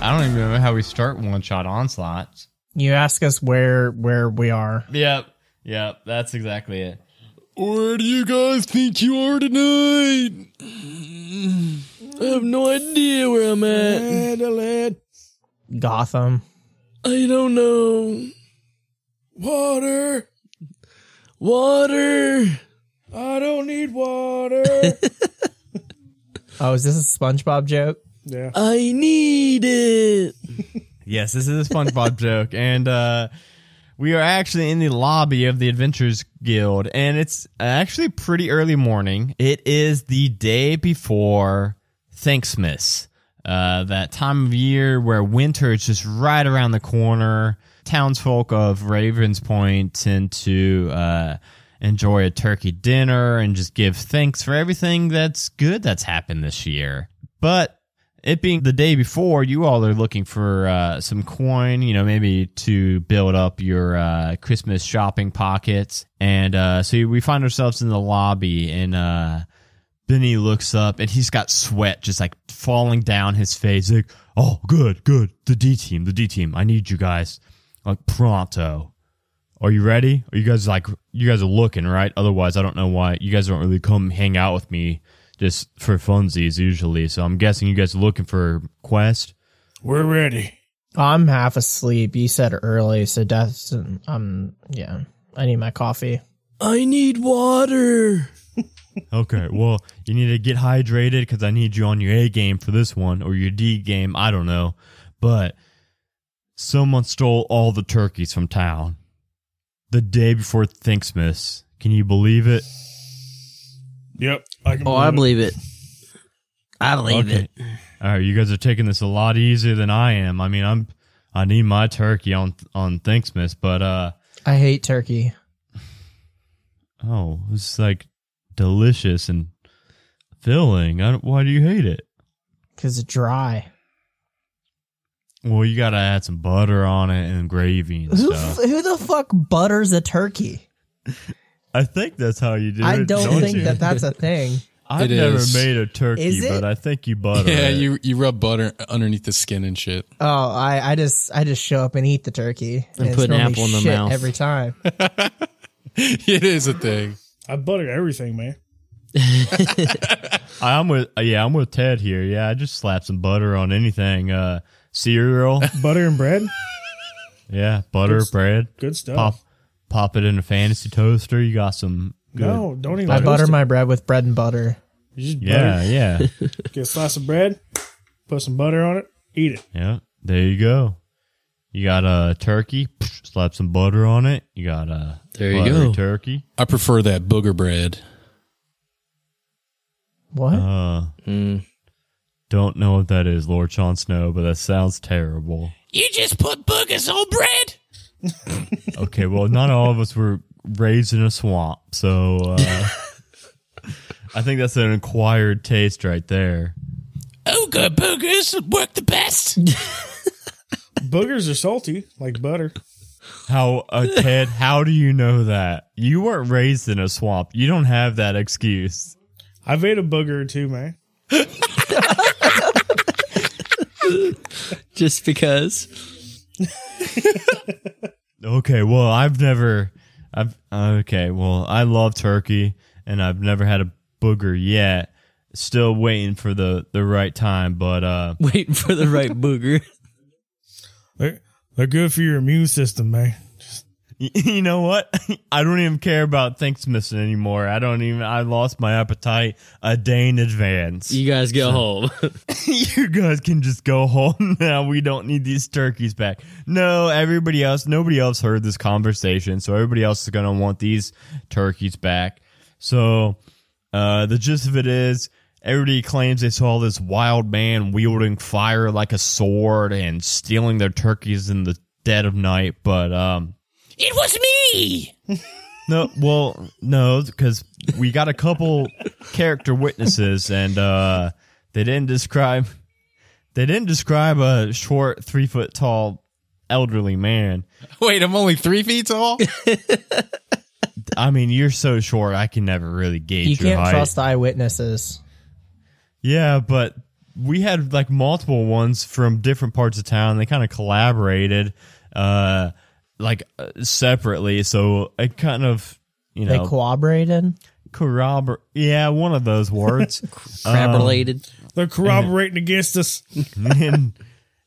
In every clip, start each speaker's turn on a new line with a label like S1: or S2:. S1: don't even know how we start one shot onslaughts.
S2: You ask us where where we are.
S1: Yep. Yep. That's exactly it. Where do you guys think you are tonight?
S3: I have no idea where I'm at.
S4: Adelaide,
S2: Gotham.
S3: I don't know.
S4: water.
S3: Water.
S4: I don't need water.
S2: Oh, is this a SpongeBob joke?
S4: yeah.
S3: I need it.
S1: Yes, this is a SpongeBob joke, and uh, we are actually in the lobby of the Adventures Guild, and it's actually pretty early morning. It is the day before Thanksmas, uh, that time of year where winter is just right around the corner. Townsfolk of Ravens Point tend to uh, enjoy a turkey dinner and just give thanks for everything that's good that's happened this year. But it being the day before, you all are looking for uh, some coin, you know, maybe to build up your uh, Christmas shopping pockets. And uh, so we find ourselves in the lobby, and uh, Benny looks up and he's got sweat just like falling down his face. Like, oh, good, good. The D team, the D team. I need you guys like pronto. Are you ready? Are you guys like, you guys are looking, right? Otherwise, I don't know why you guys don't really come hang out with me just for funsies usually. So I'm guessing you guys are looking for quest.
S4: We're ready.
S2: I'm half asleep. You said early, so that's um yeah. I need my coffee.
S3: I need water.
S1: Okay, well, you need to get hydrated because I need you on your A game for this one or your D game. I don't know. But someone stole all the turkeys from town the day before Thanksmas. Can you believe it?
S4: Yep. I can
S3: Oh, I believe it. I believe
S1: Okay.
S3: it.
S1: All right, you guys are taking this a lot easier than I am. I mean, I'm I need my turkey on on Thanksmas, but uh
S2: I hate turkey.
S1: oh, it's like delicious and filling. I don't, why do you hate it?
S2: Cause it's dry.
S1: Well, you gotta add some butter on it and gravy and
S2: Who,
S1: stuff.
S2: f- who the fuck butters a turkey?
S1: I think that's how you do it.
S2: I don't, think
S1: you?
S2: that that's a thing.
S1: I've
S5: It
S1: never
S5: is.
S1: made a turkey,
S2: Is it?
S1: but I think you butter.
S5: yeah,
S1: it.
S5: you you rub butter underneath the skin and shit.
S2: Oh, I, I just I just show up and eat the turkey
S3: And
S2: it's
S3: put an
S2: normally
S3: apple in the
S2: shit
S3: mouth.
S2: every time.
S5: it is a thing.
S4: I butter everything, man.
S1: I- I'm with yeah, I'm with Ted here. Yeah, I just slap some butter on anything. Uh, cereal,
S4: Butter and bread.
S1: yeah, butter,
S4: It's-
S1: bread.
S4: Good stuff.
S1: Pop, pop it in a fantasy toaster. You got some. Good.
S4: No, don't even.
S2: I butter
S4: toast it.
S2: my bread with bread and butter.
S4: You just
S1: Yeah, yeah,
S4: butter. Get a slice of bread. Put some butter on it. Eat it.
S1: yeah. There you go. You got a turkey. Slap some butter on it. You got a
S3: There you go.
S1: turkey.
S5: I prefer that booger bread.
S2: What?
S1: Uh, Don't know what that is, Lord Sean Snow, but that sounds terrible.
S3: You just put boogers on bread.
S1: Okay, well, not all of us were raised in a swamp, so uh, I think that's an acquired taste right there.
S3: Ogre Oh, boogers work the best.
S4: Boogers are salty, like butter.
S1: How, uh, Ted, how do you know that? You weren't raised in a swamp. You don't have that excuse.
S4: I've ate a booger or two, man.
S3: Just because.
S1: Okay, well, I've never. I've okay. Well, I love turkey, and I've never had a booger yet. Still waiting for the the right time, but uh,
S3: Waiting for the right booger.
S4: They're, they're good for your immune system, man.
S1: Y- you know what? I don't even care about Thanksmas anymore. I don't even. I lost my appetite a day in advance.
S3: You guys go home.
S1: you guys can just go home now. We don't need these turkeys back. No, everybody else, nobody else heard this conversation, so everybody else is gonna want these turkeys back. So, uh, the gist of it is, everybody claims they saw this wild man wielding fire like a sword and stealing their turkeys in the dead of night, but um.
S3: it was me.
S1: No, well, no, because we got a couple character witnesses, and uh, they didn't describe they didn't describe a short, three foot tall, elderly man.
S5: Wait, I'm only three feet tall.
S1: I mean, you're so short, I can never really gauge
S2: you
S1: your
S2: can't
S1: height.
S2: trust eyewitnesses.
S1: yeah, but we had like multiple ones from different parts of town. They kind of collaborated, uh, like uh, separately. So it kind of you
S2: They
S1: know
S2: cooperated.
S1: corrobor- Yeah, one of those words.
S3: Crab related.
S4: They're corroborating against us.
S1: and,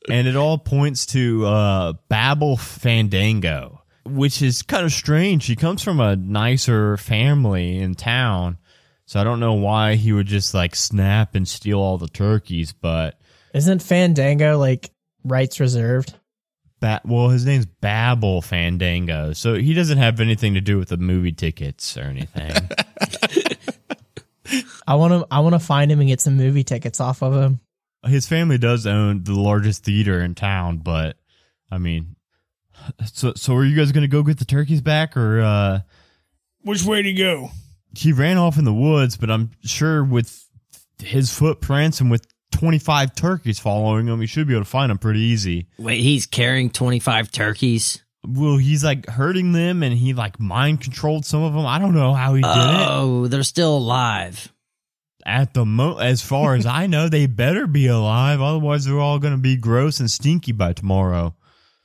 S1: and it all points to uh, Babel Fandango, which is kind of strange. He comes from a nicer family in town, so I don't know why he would just like snap and steal all the turkeys. But
S2: Isn't Fandango like rights reserved?
S1: ba- well, his name's Babel Fandango, so he doesn't have anything to do with the movie tickets or anything.
S2: I want to. I want to find him and get some movie tickets off of him.
S1: his family does own the largest theater in town, but I mean. So, so are you guys gonna go get the turkeys back, or uh,
S4: Which way to go?
S1: he ran off in the woods, but I'm sure with his footprints and with 25 turkeys following him, he should be able to find him pretty easy.
S3: Wait, he's carrying 25 turkeys.
S1: Well, he's like hurting them and he like mind controlled some of them. I don't know how he did it.
S3: Oh, they're still alive.
S1: At the mo, as far as I know, they better be alive. Otherwise, they're all going to be gross and stinky by tomorrow.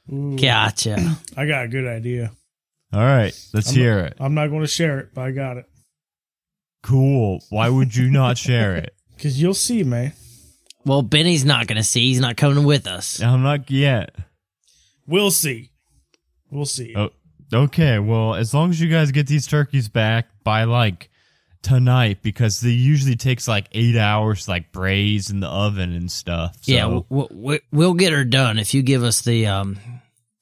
S3: Gotcha.
S4: I got a good idea.
S1: All right, let's hear it.
S4: I'm not going to share it, but I got it.
S1: Cool. Why would you not share it?
S4: Because you'll see, man.
S3: well, Benny's not going to see. He's not coming with us.
S1: I'm not yet.
S4: We'll see. We'll see.
S1: Oh, okay. Well, as long as you guys get these turkeys back by like tonight, because they usually takes like eight hours to like braise in the oven and stuff. So.
S3: Yeah, w- w- we'll get her done if you give us the um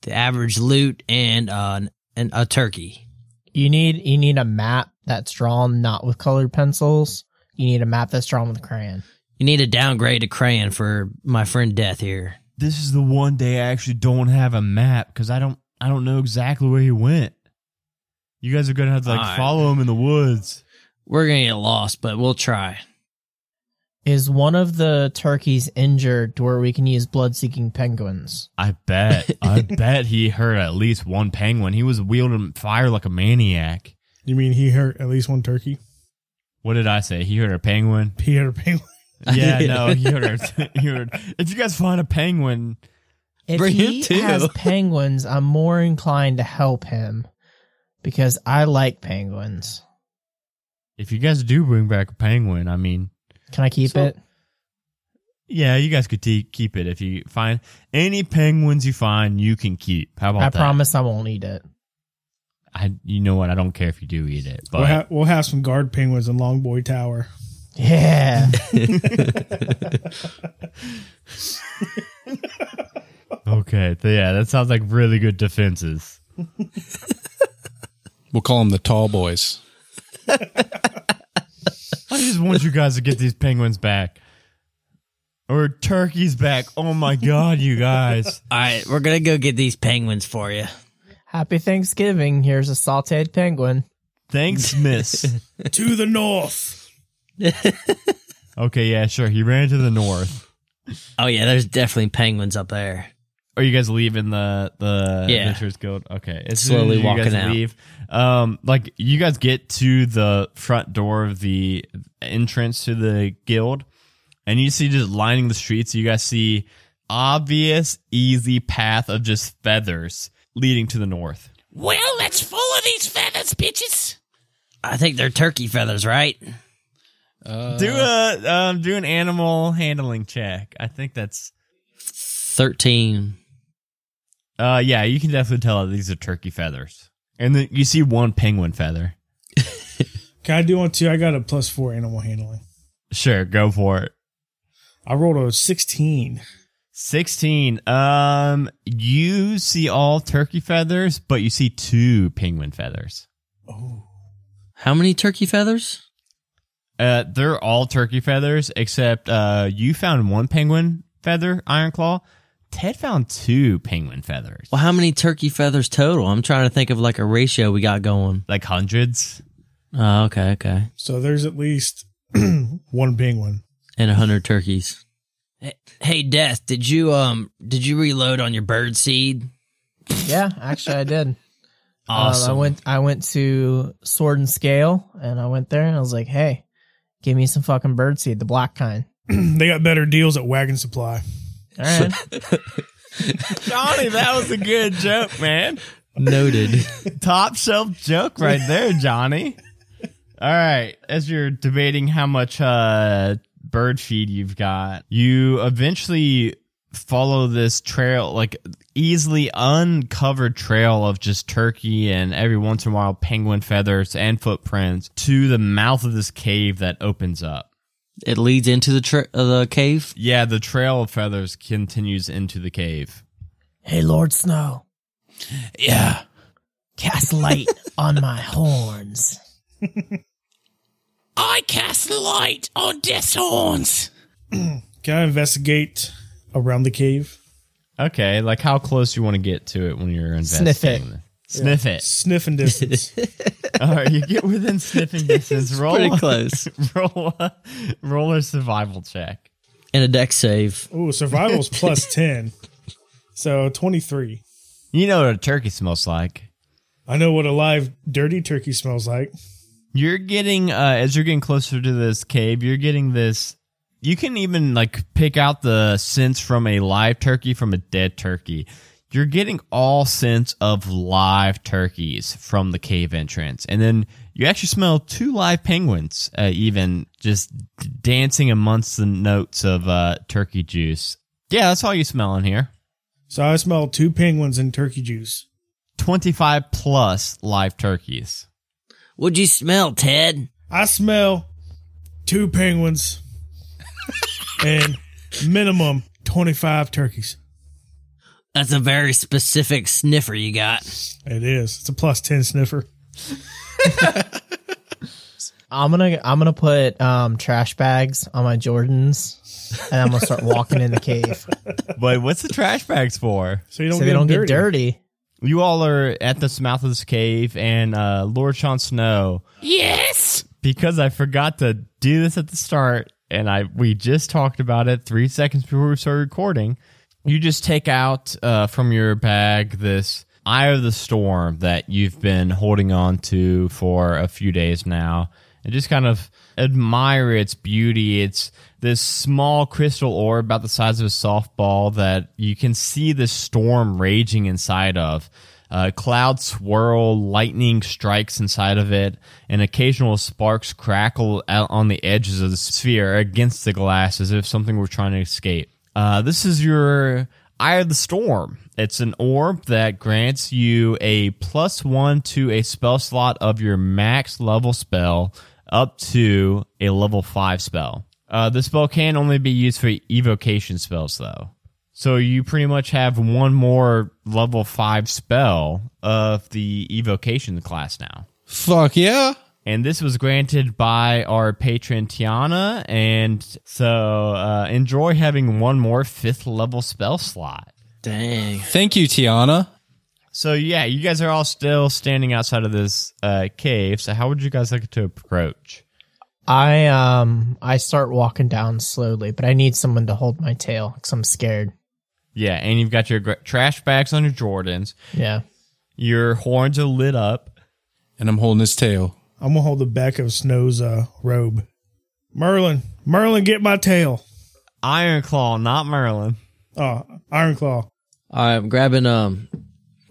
S3: the average loot and uh, and a turkey.
S2: You need. You need a map that's drawn not with colored pencils. You need a map that's drawn with crayon.
S3: You need to downgrade to crayon for my friend Death here.
S1: this is the one day I actually don't have a map because I don't I don't know exactly where he went. You guys are gonna have to like
S3: Alright.
S1: follow him in the woods.
S3: We're gonna get lost, but we'll try.
S2: Is one of the turkeys injured to where we can use blood-seeking penguins?
S1: I bet. I bet he hurt at least one penguin. He was wielding fire like a maniac.
S4: You mean he hurt at least one turkey?
S1: What did I say? He hurt a penguin.
S4: He hurt a penguin.
S1: Yeah, no, he heard. He heard. If you guys find a penguin,
S2: If
S3: Bring him
S2: he
S3: too.
S2: has penguins, I'm more inclined to help him because I like penguins.
S1: if you guys do bring back a penguin, I mean,
S2: Can I keep
S1: So-
S2: it?
S1: yeah, you guys could te- keep it if you find any penguins you find, you can keep. How about
S2: I
S1: that?
S2: promise I won't eat it.
S1: I, you know what? I don't care if you do eat it, but
S4: We'll, ha- we'll have some guard penguins in Longboy Tower.
S2: Yeah.
S1: okay, th- yeah, that sounds like really good defenses.
S5: We'll call them the tall boys.
S1: I just want you guys to get these penguins back. Or turkeys back. Oh my god, you guys.
S3: All right, we're gonna go get these penguins for you.
S2: Happy Thanksgiving. Here's a sauteed penguin.
S1: Thanks, miss.
S4: to the north.
S1: Okay, yeah, sure. He ran to the north.
S3: Oh yeah, there's definitely penguins up there.
S1: Are you guys leaving the the
S3: Yeah.
S1: Adventurers Guild? Okay, as
S3: Slowly
S1: soon as you
S3: walking
S1: guys
S3: out.
S1: Leave, um, like you guys get to the front door of the entrance to the guild, and you see just lining the streets. You guys see obvious, easy path of just feathers leading to the north.
S6: Well, let's follow these feathers, bitches.
S3: I think they're turkey feathers, right?
S5: Uh,
S1: do a um, do an animal handling check. I think that's
S3: Thirteen.
S1: uh, yeah. You can definitely tell that these are turkey feathers, and then you see one penguin feather.
S4: Can I do one too? I got a plus four animal handling.
S1: Sure, go for it.
S4: I rolled a 16.
S1: 16 um you see all turkey feathers but you see two penguin feathers
S3: How many turkey feathers?
S1: uh they're all turkey feathers except uh you found one penguin feather iron claw ted found two penguin feathers
S3: Well, how many turkey feathers total? I'm trying to think of like a ratio we got going.
S1: like hundreds
S3: Oh, okay, okay.
S4: So there's at least one penguin.
S3: And a hundred turkeys. Hey, hey, Death, did you um did you reload on your bird seed?
S2: Yeah, actually I did.
S3: Awesome.
S2: Um, I went I went to Sword and Scale and I went there and I was like, hey, give me some fucking birdseed, the black kind.
S4: they got better deals at Wagon Supply.
S2: All right.
S1: Johnny, that was a good joke, man.
S3: Noted.
S1: Top shelf joke right there, Johnny. All right. As you're debating how much uh, bird feed you've got, you eventually follow this trail, like easily uncovered trail of just turkey and every once in a while penguin feathers and footprints to the mouth of this cave that opens up.
S3: it leads into the tr- uh, the cave.
S1: Yeah, the trail of feathers continues into the cave.
S2: Hey, Lord Snow,
S5: Yeah.
S2: cast light on my horns.
S6: I cast light on death's horns.
S4: Can I investigate around the cave?
S1: Okay, like how close you want to get to it when you're investigating. it.
S2: Sniff
S1: Sniff it.
S4: Sniffing distance.
S1: All right, you get within sniffing distance. Roll
S3: Pretty
S1: a-
S3: close.
S1: roll a, roll a survival check.
S3: And a deck save.
S4: Ooh, survival's plus 10. So 23.
S1: You know what a turkey smells like.
S4: I know what a live dirty turkey smells like.
S1: You're getting uh, as you're getting closer to this cave. You're getting this. You can even like pick out the scents from a live turkey from a dead turkey. You're getting all scents of live turkeys from the cave entrance, and then you actually smell two live penguins, uh, even just d- dancing amongst the notes of uh, turkey juice. Yeah, that's all you smell in here.
S4: So I smell two penguins and turkey juice.
S1: 25 plus live turkeys.
S3: What'd you smell, Ted?
S4: I smell two penguins and minimum 25 turkeys.
S3: That's a very specific sniffer you got.
S4: It is. It's a plus 10 sniffer.
S2: I'm gonna I'm gonna put um, trash bags on my Jordans, and I'm gonna start walking in the cave
S1: But what's the trash bags for?
S4: So you don't,
S2: so they
S4: get,
S2: don't
S4: dirty.
S2: get dirty.
S1: You all are at the mouth of this cave, and uh, Lord Sean Snow,
S6: Yes.
S1: because I forgot to do this at the start, and I we just talked about it three seconds before we started recording. You just take out uh, from your bag this Eye of the Storm that you've been holding on to for a few days now, and just kind of admire its beauty. It's this small crystal orb about the size of a softball that you can see the storm raging inside of. Uh, clouds swirl, lightning strikes inside of it, and occasional sparks crackle out on the edges of the sphere against the glass as if something were trying to escape. Uh, this is your Eye of the Storm. It's an orb that grants you a plus one to a spell slot of your max level spell up to a level five spell. Uh, the spell can only be used for evocation spells, though. So you pretty much have one more level five spell of the evocation class now.
S5: Fuck yeah.
S1: And this was granted by our patron Tiana. And so uh, enjoy having one more fifth level spell slot.
S3: Dang.
S5: Thank you, Tiana.
S1: So, yeah, you guys are all still standing outside of this uh, cave. So, how would you guys like to approach?
S2: I um I start walking down slowly, but I need someone to hold my tail because I'm scared.
S1: Yeah, and you've got your gr- trash bags on your Jordans.
S2: Yeah,
S1: Your horns are lit up.
S5: And I'm holding his tail.
S4: I'm going to hold the back of Snow's uh, robe. Merlin, Merlin, get my tail.
S1: Iron Claw, not Merlin.
S4: Oh, Iron Claw.
S3: I'm grabbing um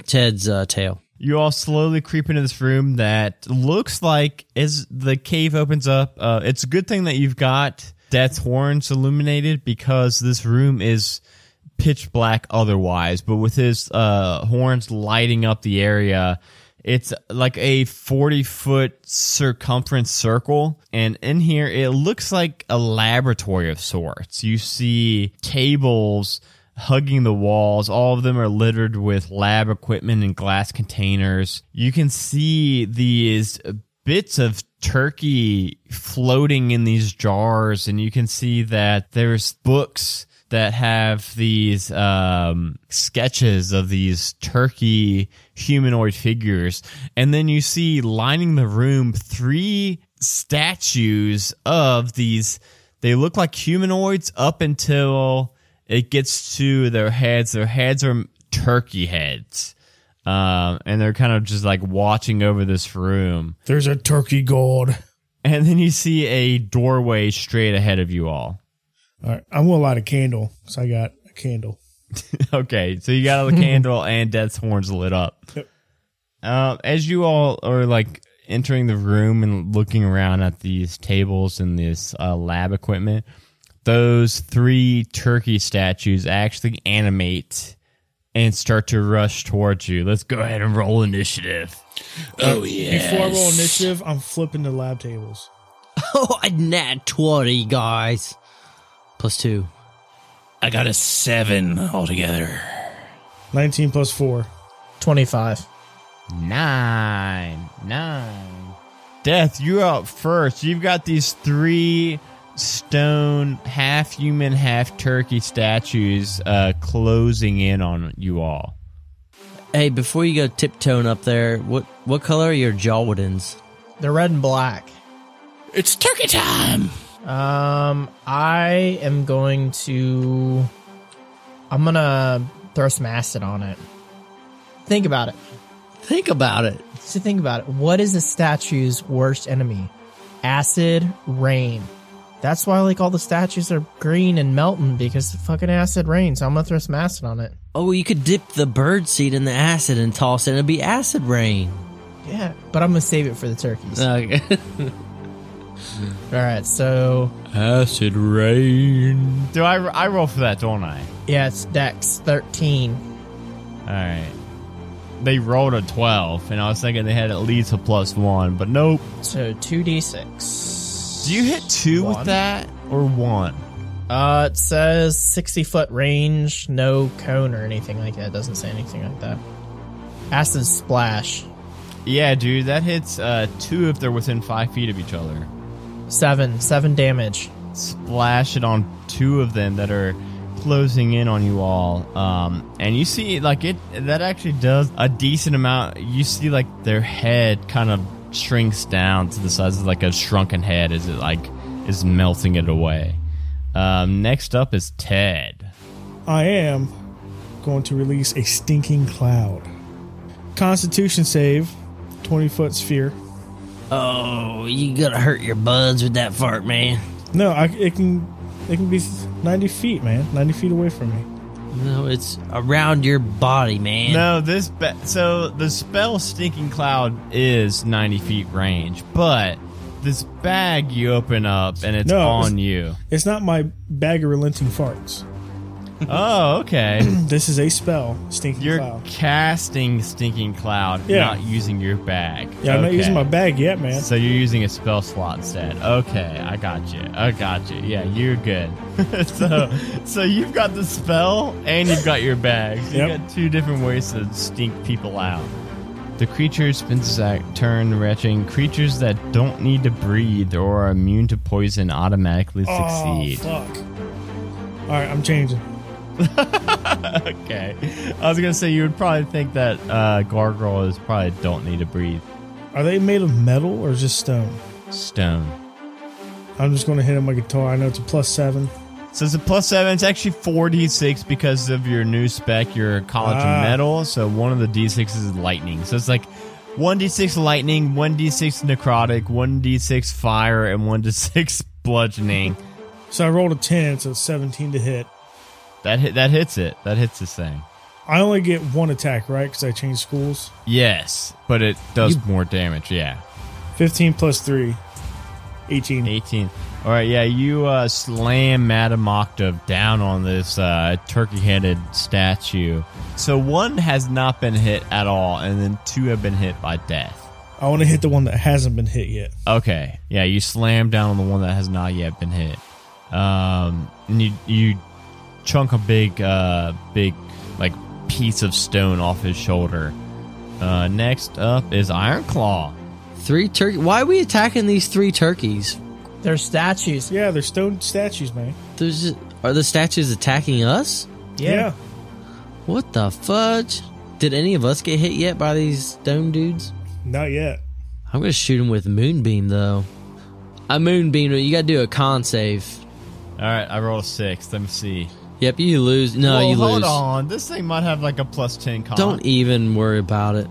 S3: Ted's uh, tail.
S1: You all slowly creep into this room that looks like as the cave opens up. Uh, it's a good thing that you've got Death's horns illuminated because this room is pitch black otherwise. But with his uh, horns lighting up the area, it's like a 40 foot circumference circle. And in here, it looks like a laboratory of sorts. You see tables hugging the walls. All of them are littered with lab equipment and glass containers. You can see these bits of turkey floating in these jars, and you can see that there's books that have these um, sketches of these turkey humanoid figures. And then you see lining the room three statues of these. They look like humanoids up until it gets to their heads. Their heads are turkey heads. Um, and they're kind of just like watching over this room.
S4: There's a turkey god.
S1: And then you see a doorway straight ahead of you all.
S4: All right, I'm gonna light a candle because I got a candle.
S1: okay, so you got a candle and Death's horns lit up.
S4: Yep.
S1: Uh, as you all are like entering the room and looking around at these tables and this uh, lab equipment, those three turkey statues actually animate and start to rush towards you. Let's go ahead and roll initiative.
S6: Oh, yes.
S4: Before I roll initiative, I'm flipping the lab tables.
S3: Oh, I nat 20, guys. Plus two.
S6: I got a seven altogether.
S4: 19 plus four.
S2: 25.
S1: Nine. Nine. Death, you're up first. You've got these three stone, half human, half turkey statues uh, closing in on you all.
S3: Hey, before you go tiptoeing up there, what what color are your Jawdins?
S2: They're red and black.
S6: It's turkey time.
S2: Um, I am going to. I'm gonna throw some acid on it. Think about it.
S3: Think about it.
S2: So think about it. What is the statue's worst enemy? Acid rain. That's why like all the statues are green and melting because fucking acid rain. So I'm gonna throw some acid on it.
S3: Oh, you could dip the bird seed in the acid and toss it. It'd be acid rain.
S2: Yeah, but I'm gonna save it for the turkeys.
S3: Okay.
S2: All right, so
S5: Acid rain.
S1: Do I, I roll for that, don't I?
S2: yeah, it's Dex 13.
S1: All right. They rolled a 12, and I was thinking they had at least a plus one, but nope.
S2: So 2d6.
S1: Do you hit two
S2: One.
S1: with that or one?
S2: Uh, it says 60 foot range, no cone or anything like that. It doesn't say anything like that. Acid splash,
S1: Yeah, dude, that hits uh, two if they're within five feet of each other.
S2: seven, seven damage.
S1: splash it on two of them that are closing in on you all um, and you see like it that actually does a decent amount you see like their head kind of shrinks down to the size of like a shrunken head as it like is melting it away um, next up is ted
S4: I am going to release a stinking cloud. Constitution save, 20 foot sphere.
S3: oh, you gotta hurt your buds with that fart, man.
S4: No, I, it can it can be 90 feet, man. 90 feet away from me.
S3: No, it's around your body, man.
S1: no this ba- so the spell stinking cloud is 90 feet range but this bag you open up and it's
S4: No, it was-
S1: on you
S4: It's not my bag of relenting farts.
S1: oh okay
S4: This is a spell, stinking
S1: You're
S4: cloud.
S1: casting Stinking Cloud,
S4: Yeah.
S1: not using your bag.
S4: Yeah, I'm not
S1: Okay.
S4: using my bag yet, man.
S1: So you're using a spell slot instead. Okay, I got you. I got you. Yeah, you're good. so, so you've got the spell and you've got your bag. So
S4: Yep.
S1: You've got two different ways to stink people out. The creature spins its act- turn, retching. Creatures that don't need to breathe or are immune to poison automatically succeed.
S4: Oh, fuck. All right, I'm changing.
S1: Okay, I was gonna say you would probably think that uh, gargoyle is probably don't need to breathe.
S4: Are they made of metal or just stone?
S1: stone.
S4: I'm just going to hit on my guitar. I know it's a plus seven.
S1: So it's a plus seven. It's actually four d6 because of your new spec, your college
S4: Ah.
S1: metal. So one of the d6s is lightning. So it's like one d6 lightning, one d6 necrotic, one d6 fire, and one d6 bludgeoning.
S4: So I rolled a 10, so it's 17 to hit.
S1: that hit. That hits it. That hits this thing.
S4: I only get one attack, right? Because I changed schools.
S1: Yes, but it does more damage. Yeah.
S4: 15 plus 3. 18.
S1: 18. All right, yeah, you uh, slam Madam Octave down on this uh, turkey headed statue. So one has not been hit at all, and then two have been hit by death.
S4: I want to hit the one that hasn't been hit yet.
S1: Okay, yeah, you slam down on the one that has not yet been hit. Um, and you, you chunk a big, uh, big, like, piece of stone off his shoulder. Uh, next up is Iron Claw.
S3: Three turkey. Why are we attacking these three turkeys?
S2: They're statues.
S4: Yeah, they're stone statues, man.
S3: There's just, are the statues attacking us?
S4: Yeah.
S3: What the fudge? Did any of us get hit yet by these stone dudes?
S4: Not yet.
S3: I'm gonna shoot him with moonbeam though. I moonbeam. You gotta do a con save.
S1: All right, I rolled a six. Let me see.
S3: Yep, you lose. No,
S1: Well,
S3: you
S1: hold
S3: lose.
S1: on. This thing might have like a plus ten con.
S3: Don't even worry about it.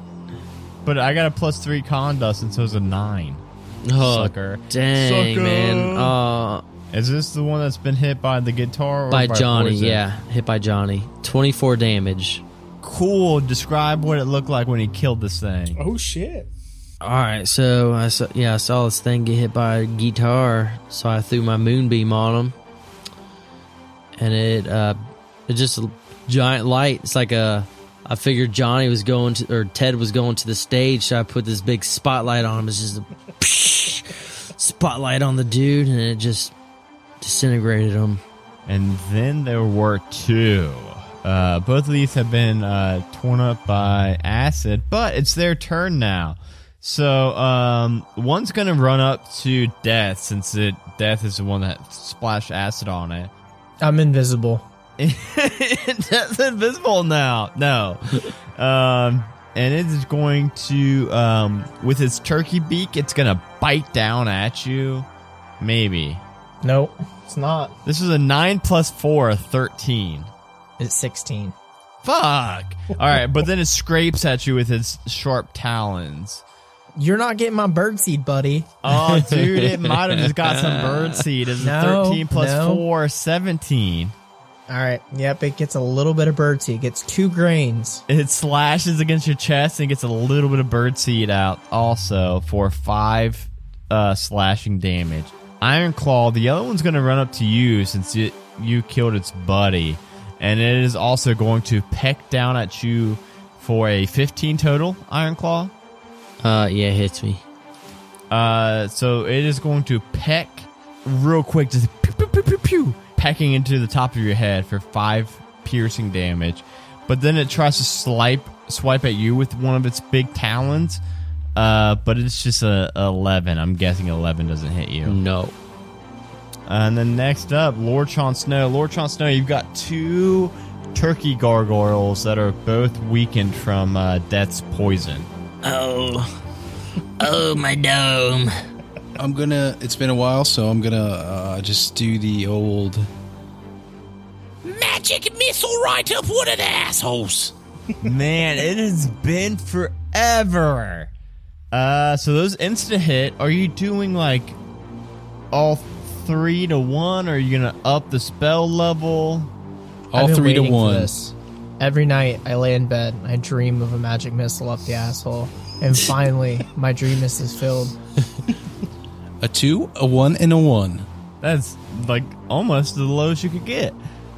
S1: But I got a plus three con dust, and so it's a nine.
S3: Oh,
S1: Sucker.
S3: Dang,
S1: Sucker.
S3: man. Uh,
S1: Is this the one that's been hit by the guitar? Or
S3: by, Johnny,
S1: Poison?
S3: yeah, hit by Johnny. Twenty four damage.
S1: Cool. Describe what it looked like when he killed this thing.
S4: Oh shit!
S3: All right, so I saw, yeah, I saw this thing get hit by a guitar, so I threw my moonbeam on him, and it uh, it just a giant light. It's like a I figured Johnny was going to or Ted was going to the stage, so I put this big spotlight on him. It's just a spotlight on the dude, and it just disintegrated him.
S1: And then there were two. Uh, both of these have been uh, torn up by acid, but it's their turn now. So um, one's going to run up to Death since it Death is the one that splashed acid on it.
S2: I'm invisible.
S1: Death's invisible now. No. Um, and it is going to, um, with its turkey beak, it's going to bite down at you. Maybe.
S2: Nope, it's not.
S1: This is a 9 plus 4, a 13.
S2: It's 16.
S1: Fuck. All right, but then it scrapes at you with its sharp talons.
S2: You're not getting my birdseed, buddy.
S1: Oh, dude, it might have just got some bird seed. It's
S2: No,
S1: a 13 plus
S2: no.
S1: 4, 17.
S2: All right. Yep, it gets a little bit of birdseed. It gets two grains.
S1: It slashes against your chest and gets a little bit of bird seed out also for 5 uh, slashing damage. Iron Claw, the other one's going to run up to you since it, you killed its buddy. And it is also going to peck down at you for a 15 total, Iron Claw.
S3: Uh, yeah, it hits me.
S1: Uh, so it is going to peck real quick, just pew, pew, pew, pew, pew, pecking into the top of your head for five piercing damage. But then it tries to swipe swipe at you with one of its big talons. Uh, but it's just a, a eleven. I'm guessing eleven doesn't hit you.
S3: No.
S1: And then next up, Lord Chon Snow. Lord Chon Snow, you've got two turkey gargoyles that are both weakened from uh, Death's poison.
S3: Oh, oh my dome.
S7: I'm gonna. It's been a while, so I'm gonna uh, just do the old.
S6: Magic missile right up one of the assholes.
S1: Man, it has been forever. Uh, so those insta hit. Are you doing like all three to one? Or are you gonna up the spell level?
S7: All
S2: I've been
S7: three to
S2: waiting for
S7: one.
S2: this. Every night I lay in bed and I dream of a magic missile up the asshole. And finally, my dream is is filled.
S7: A two, a one, and a one.
S1: That's like almost the lowest you could get.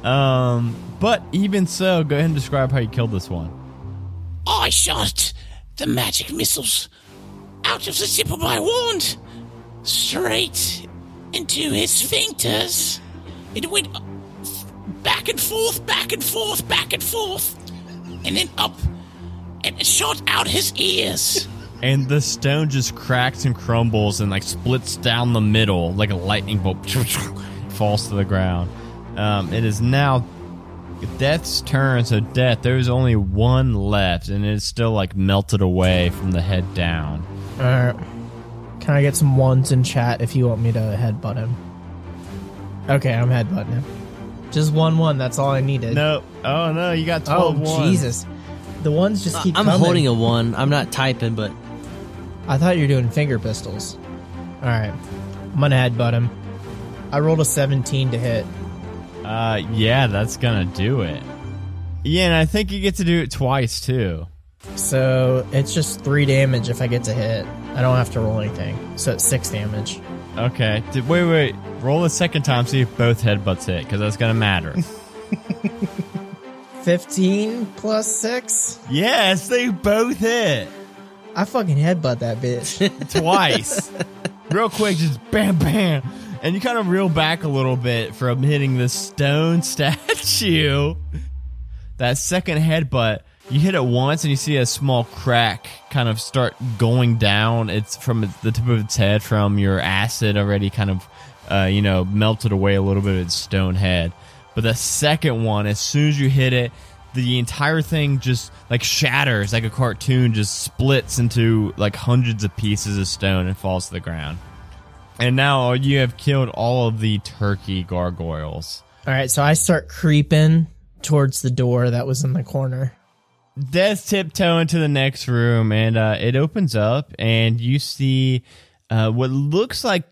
S1: Um, but even so, go ahead and describe how you killed this one.
S6: I shot the magic missiles out of the tip of my wand straight into his sphincters. It went up- back and forth, back and forth, back and forth, and then up and it shot out his ears.
S1: And the stone just cracks and crumbles and like splits down the middle like a lightning bolt, falls to the ground. Um, it is now Death's turn, so Death, there's only one left, and it's still like melted away from the head down.
S2: All right. Can I get some ones in chat if you want me to headbutt him? Okay, I'm headbutting him. Just one one. That's all I needed.
S1: No, oh no, you got
S2: Oh
S1: 12 ones.
S2: Jesus! The ones just keep.
S3: I'm
S2: coming.
S3: holding a one. I'm not typing, but
S2: I thought you were doing finger pistols. All right, I'm gonna headbutt him. I rolled a 17 to hit.
S1: Uh, yeah, that's gonna do it. Yeah, and I think you get to do it twice too.
S2: So it's just three damage if I get to hit. I don't have to roll anything. So it's six damage.
S1: Okay, Did, wait, wait, roll the second time, see if both headbutts hit, because that's gonna matter.
S2: 15 plus six?
S1: yes, they both hit.
S2: I fucking headbutt that bitch.
S1: twice. real quick, just bam, bam. And you kind of reel back a little bit from hitting the stone statue. That second headbutt, you hit it once and you see a small crack kind of start going down. It's from the tip of its head from your acid already kind of, uh, you know, melted away a little bit of its stone head. But the second one, as soon as you hit it, the entire thing just like shatters like a cartoon, just splits into like hundreds of pieces of stone and falls to the ground. And now you have killed all of the turkey gargoyles.
S2: All right, so I start creeping towards the door that was in the corner.
S1: Death tiptoeing to the next room, and uh, it opens up, and you see uh, what looks like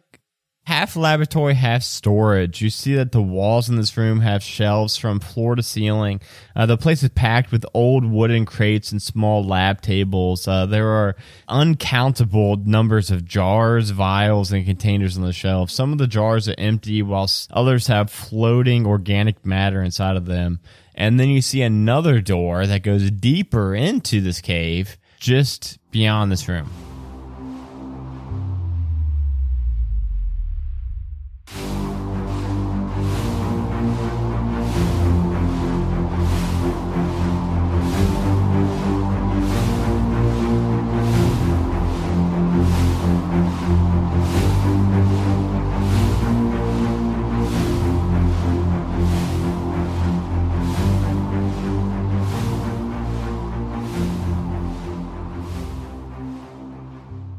S1: half laboratory, half storage. You see that the walls in this room have shelves from floor to ceiling. Uh, the place is packed with old wooden crates and small lab tables. Uh, there are uncountable numbers of jars, vials, and containers on the shelf. Some of the jars are empty, whilst others have floating organic matter inside of them. And then you see another door that goes deeper into this cave, just beyond this room.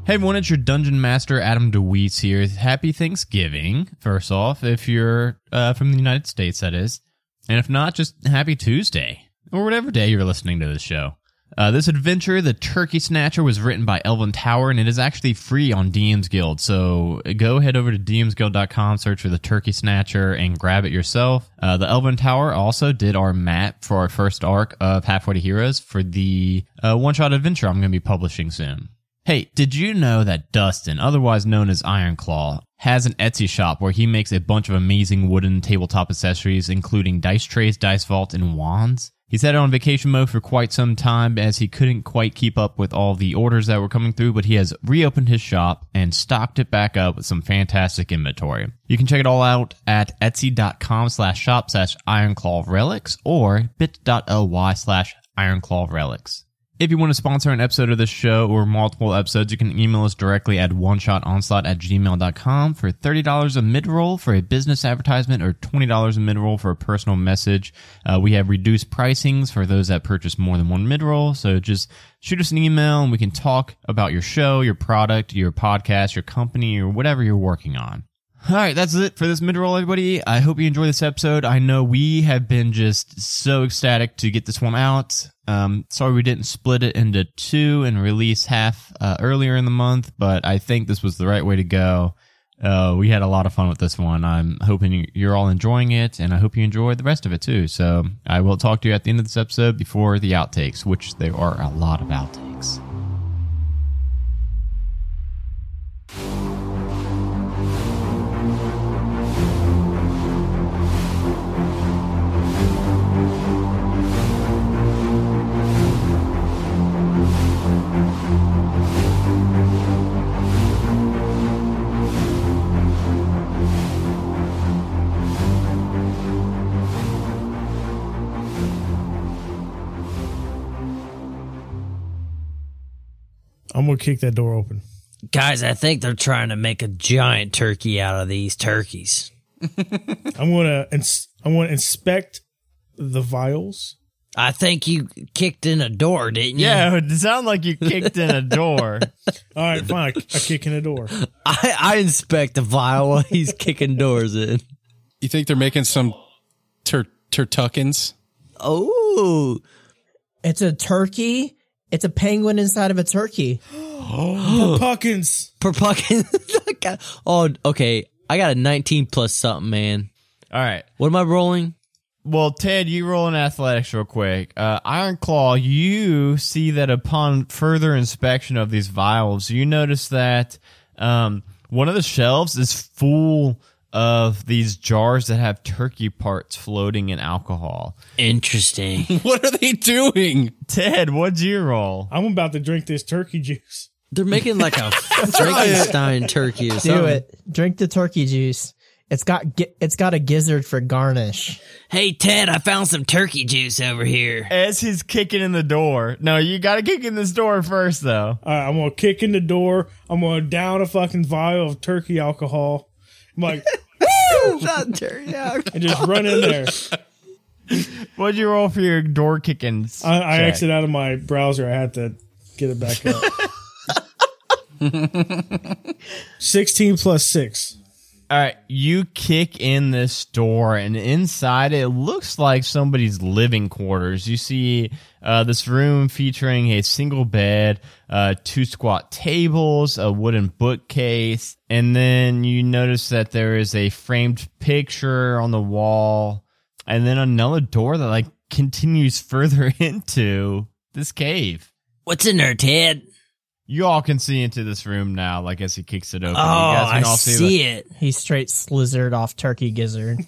S1: Hey everyone, it's your Dungeon Master Adam DeWeese here. Happy Thanksgiving, first off, if you're uh, from the United States, that is. And if not, just happy Tuesday, or whatever day you're listening to this show. Uh, this adventure, The Turkey Snatcher, was written by Elvin Tower, and it is actually free on DM's Guild. So go head over to dmsguild.com, search for The Turkey Snatcher, and grab it yourself. Uh, the Elvin Tower also did our map for our first arc of Halfway to Heroes for the uh, one shot adventure I'm going to be publishing soon. Hey, did you know that Dustin, otherwise known as Ironclaw, has an Etsy shop where he makes a bunch of amazing wooden tabletop accessories, including dice trays, dice vaults, and wands? He's had it on vacation mode for quite some time as he couldn't quite keep up with all the orders that were coming through, but he has reopened his shop and stocked it back up with some fantastic inventory. You can check it all out at etsy.com slash shop slash ironclaw relics or bit.ly slash ironclaw relics. If you want to sponsor an episode of this show or multiple episodes, you can email us directly at one shot onslaught at gmail.com for $30 a mid roll for a business advertisement or $20 a mid roll for a personal message. Uh, we have reduced pricings for those that purchase more than one mid roll. So just shoot us an email and we can talk about your show, your product, your podcast, your company, or whatever you're working on. All right, that's it for this mid-roll, everybody. I hope you enjoy this episode. I know we have been just so ecstatic to get this one out. Um, sorry we didn't split it into two and release half uh, earlier in the month, but I think this was the right way to go. Uh, we had a lot of fun with this one. I'm hoping you- you're all enjoying it, and I hope you enjoy the rest of it too. So I will talk to you at the end of this episode before the outtakes, which there are a lot of outtakes.
S4: I'm gonna kick that door open.
S3: Guys, I think they're trying to make a giant turkey out of these turkeys.
S4: I'm gonna ins- I'm gonna inspect the vials.
S3: I think you kicked in a door, didn't you?
S1: Yeah, it sounded like you kicked in a door.
S4: All right, fine. I, I kick in the door.
S3: I, I inspect the vial while he's kicking doors in.
S7: You think they're making some tur- turtuckins?
S3: Oh,
S2: It's a turkey. It's a penguin inside of a turkey.
S4: Puckins.
S3: perpuckin. oh, okay. I got a 19 plus something, man.
S1: All right.
S3: What am I rolling?
S1: Well, Ted, you roll in athletics real quick. Uh, Iron Claw, you see that upon further inspection of these vials, you notice that um, one of the shelves is full of these jars that have turkey parts floating in alcohol.
S3: Interesting.
S7: What are they doing?
S1: Ted, what'd you roll?
S4: I'm about to drink this turkey juice.
S3: They're making like a Frankenstein turkey or something.
S2: Do it. Drink the turkey juice. It's got gi- it's got a gizzard for garnish.
S3: Hey, Ted, I found some turkey juice over here.
S1: As he's kicking in the door. No, you gotta kick in this door first, though.
S4: All right, I'm gonna kick in the door. I'm gonna down a fucking vial of turkey alcohol. I'm like,
S3: Not turkey
S4: and just run in there.
S1: What'd you roll for your door kicking? s-
S4: I, I
S1: check?
S4: exit out of my browser. I had to get it back up. Sixteen plus six.
S1: All right, you kick in this door, and inside it looks like somebody's living quarters. You see uh, this room featuring a single bed, uh, two squat tables, a wooden bookcase, and then you notice that there is a framed picture on the wall, and then another door that like continues further into this cave.
S3: What's in there, Ted?
S1: You all can see into this room now, like as he kicks it open.
S3: Oh,
S1: you guys
S3: I
S1: can all the-
S3: see it.
S2: He straight slizzard off Turkey Gizzard.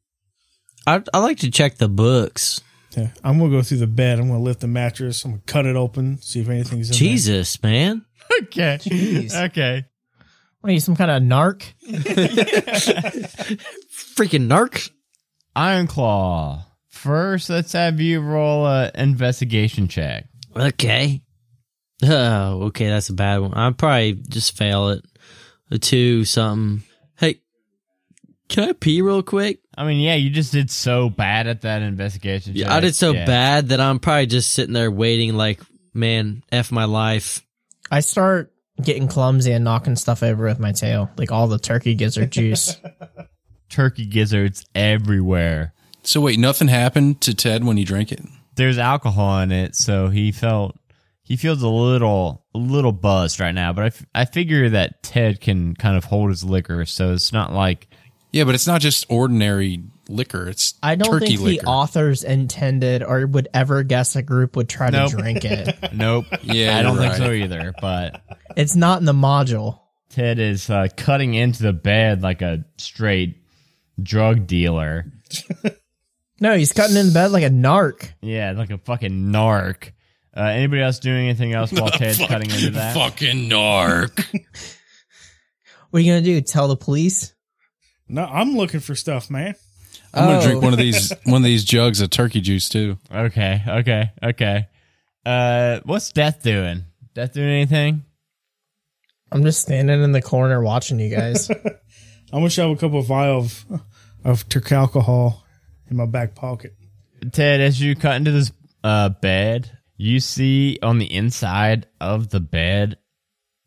S3: I I like to check the books.
S4: Yeah, I'm gonna go through the bed. I'm gonna lift the mattress. I'm gonna cut it open, see if anything's in
S3: Jesus, man.
S1: Okay.
S2: Jeez.
S1: Okay.
S2: What are you, some kind of narc?
S3: Freaking narc.
S1: Iron Claw. First, let's have you roll a investigation check.
S3: Okay. Oh, okay, that's a bad one. I'd probably just fail it. A two, something. Hey, can I pee real quick?
S1: I mean, yeah, you just did so bad at that investigation check.
S3: I did so
S1: Yeah.
S3: bad that I'm probably just sitting there waiting, like, man, F my life.
S2: I start getting clumsy and knocking stuff over with my tail, like all the Turkey Gizzard juice.
S1: Turkey gizzards everywhere.
S7: So wait, nothing happened to Ted when he drank it.
S1: There's alcohol in it, so he felt he feels a little a little buzzed right now. But I, f- I figure that Ted can kind of hold his liquor, so it's not like
S7: Yeah, but it's not just ordinary liquor. It's
S2: I don't
S7: turkey
S2: think the
S7: liquor.
S2: authors intended or would ever guess a group would try
S1: Nope.
S2: to drink it.
S1: nope.
S7: Yeah,
S1: I don't
S7: you're
S1: think so either. But
S2: It's not in the module.
S1: Ted is uh, cutting into the bed like a straight drug dealer.
S2: No, he's cutting in bed like a narc.
S1: Yeah, like a fucking narc. Uh, anybody else doing anything else while Ted's cutting into that?
S5: Fucking narc.
S2: What are you gonna do? Tell the police?
S4: there. No, I'm looking for stuff, man.
S7: I'm gonna drink
S2: Oh.
S7: one of these one of these jugs of turkey juice too.
S1: Okay, okay, okay. Uh, what's Death doing? Death doing anything?
S2: I'm just standing in the corner watching you guys.
S4: I'm gonna shove a couple of vial of of Turk alcohol in my back pocket.
S1: Ted, as you cut into this uh, bed, you see on the inside of the bed,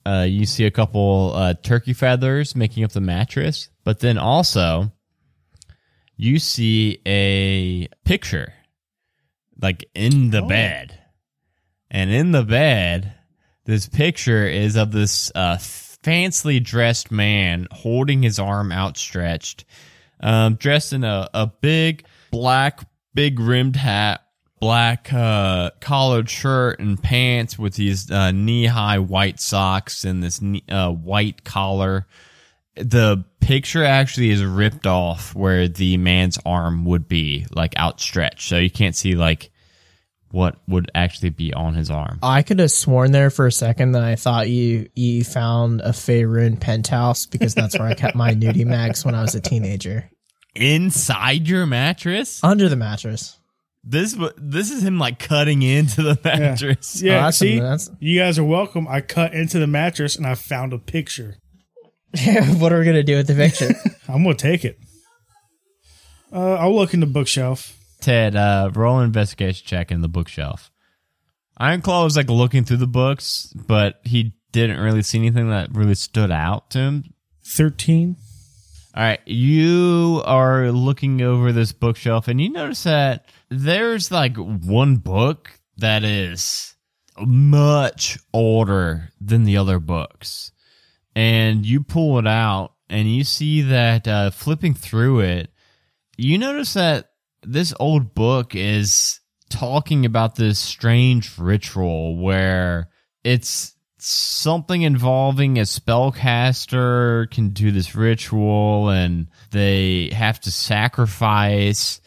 S1: uh, you see a couple uh, turkey feathers making up the mattress, but then also you see a picture like in the bed. And in the bed, this picture is of this uh, fancily dressed man holding his arm outstretched, um, dressed in a, a big black, big rimmed hat, black uh, collared shirt and pants with these uh, knee high white socks and this knee, uh, white collar. The picture actually is ripped off where the man's arm would be, like outstretched. So you can't see, like, what would actually be on his arm.
S2: I could have sworn there for a second that I thought you you found a Faerun penthouse because that's where I kept my nudie mags when I was a teenager.
S1: inside your mattress.
S2: Under the mattress.
S1: This wa- this is him like cutting into the mattress.
S2: Oh,
S4: Yeah,
S2: that's-
S4: see,
S2: that's-
S4: you guys are welcome. I cut into the mattress and I found a picture.
S2: what are we gonna do with the picture?
S4: I'm gonna take it. Uh, I'll look in the bookshelf.
S1: Ted, uh, roll an investigation check in the bookshelf. Ironclaw was like looking through the books, but he didn't really see anything that really stood out to him.
S4: Thirteen.
S1: All right, you are looking over this bookshelf and you notice that there's like one book that is much older than the other books. And you pull it out and you see that uh, flipping through it, you notice that this old book is talking about this strange ritual where it's something involving a spellcaster can do this ritual and they have to sacrifice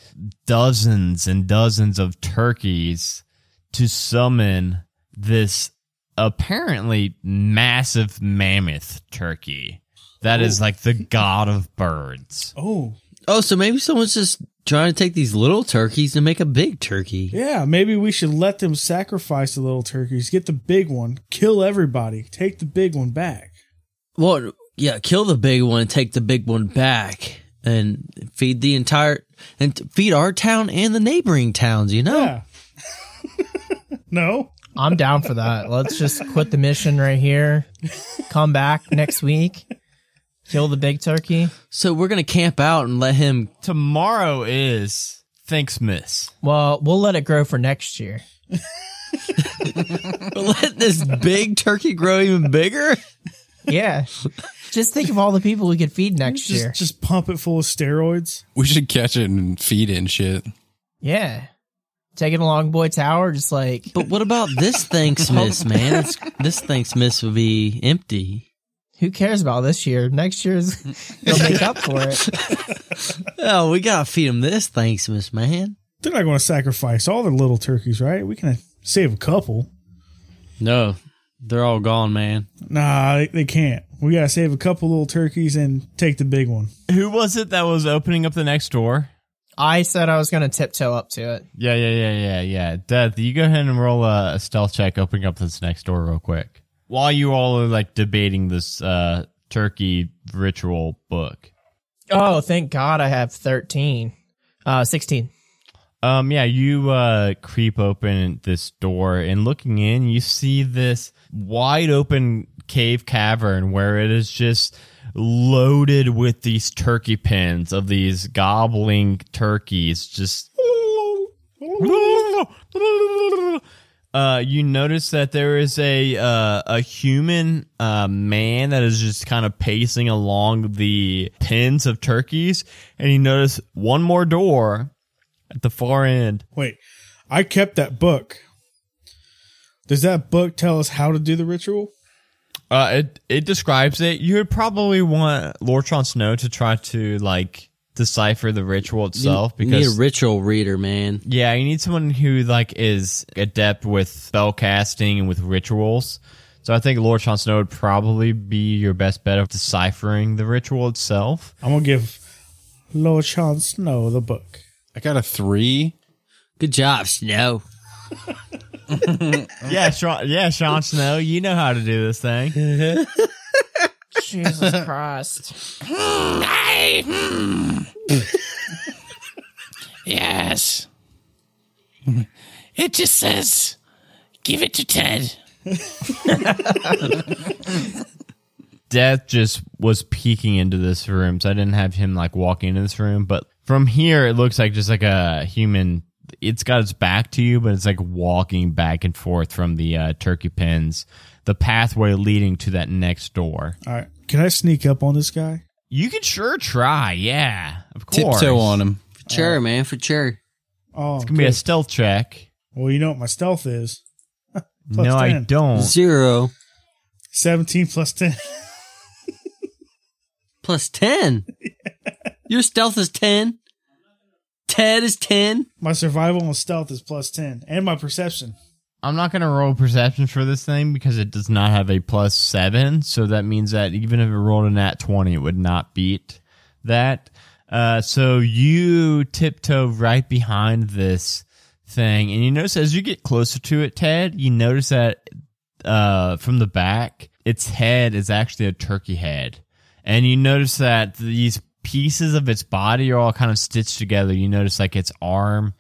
S1: dozens and dozens of turkeys to summon this apparently massive mammoth turkey that is like the god of birds.
S4: Oh,
S3: Oh, so maybe someone's just trying to take these little turkeys and make a big turkey.
S4: yeah. Maybe we should let them sacrifice the little turkeys. Get the big one. Kill everybody. Take the big one back.
S3: Well, yeah, kill the big one, take the big one back, and feed the entire and t- feed our town and the neighboring towns. You know,
S4: Yeah. no.
S2: I'm down for that. Let's just quit the mission right here. Come back next week. Kill the big turkey.
S3: So we're gonna camp out and let him.
S1: Tomorrow is Thanksmas.
S2: Well, we'll let it grow for next year.
S3: let this big turkey grow even bigger.
S2: Yeah. Just think of all the people we could feed next
S4: Just,
S2: year.
S4: just pump it full of steroids.
S7: We should catch it and feed it and shit.
S2: Yeah. Take it along Boy Tower, just like
S3: But what about this Thanksmas, man? It's, this Thanksmas would be empty.
S2: who cares about this year? Next year's they'll make up for it.
S3: Oh, we gotta feed him this Thanksmas, man.
S4: They're not going to sacrifice all their little turkeys, right? We can save a couple.
S3: No, they're all gone, man.
S4: Nah, they, they can't. We got to save a couple little turkeys and take the big one.
S1: Who was it that was opening up the next door?
S2: I said I was gonna tiptoe up to it.
S1: Yeah, yeah, yeah, yeah, yeah. Death, you go ahead and roll a, a stealth check opening up this next door real quick. While you all are like debating this uh turkey ritual book.
S2: Oh, thank God I have thirteen. Uh sixteen.
S1: Um yeah, you uh creep open this door and looking in, you see this wide open cave cavern where it is just loaded with these turkey pins of these gobbling turkeys just Uh, you notice that there is a uh, a human uh, man that is just kind of pacing along the pins of turkeys, and you notice one more door at the far end.
S4: Wait, I kept that book. Does that book tell us how to do the ritual?
S1: Uh, it it describes it. You would probably want Lortron Snow to try to like decipher the ritual itself
S3: You
S1: because
S3: need a ritual reader, man.
S1: Yeah, you need someone who like is adept with spell casting and with rituals. So I think Lord Sean Snow would probably be your best bet of deciphering the ritual itself.
S4: I'm gonna give Lord Sean Snow the book.
S7: I got a three.
S3: Good job, Snow.
S1: Yeah, Sean, yeah, Sean Snow, you know how to do this thing.
S2: Jesus Christ.
S6: I. hmm. yes. It just says, give it to Ted.
S1: Death just was peeking into this room, so I didn't have him like walk into this room. But from here, it looks like just like a human. It's got its back to you, but it's like walking back and forth from the uh, turkey pins, the pathway leading to that next door.
S4: All right, can I sneak up on this guy?
S1: You can sure try, yeah. Of course.
S7: Tiptoe on him.
S3: For sure, man. For sure.
S4: Oh,
S1: It's gonna be a stealth check.
S4: well, you know what my stealth is. Plus
S1: no, I
S4: 10.
S1: don't.
S3: Zero
S4: Seventeen plus ten.
S3: plus ten. Your stealth is ten. Ted is ten.
S4: My survival and stealth is plus ten, and my perception.
S1: I'm not gonna roll perception for this thing because it does not have a plus seven, so that means that even if it rolled a nat twenty, it would not beat that. Uh, so you tiptoe right behind this thing, and you notice as you get closer to it, Ted, you notice that uh, from the back, its head is actually a turkey head. And you notice that these pieces of its body are all kind of stitched together. You notice like its arm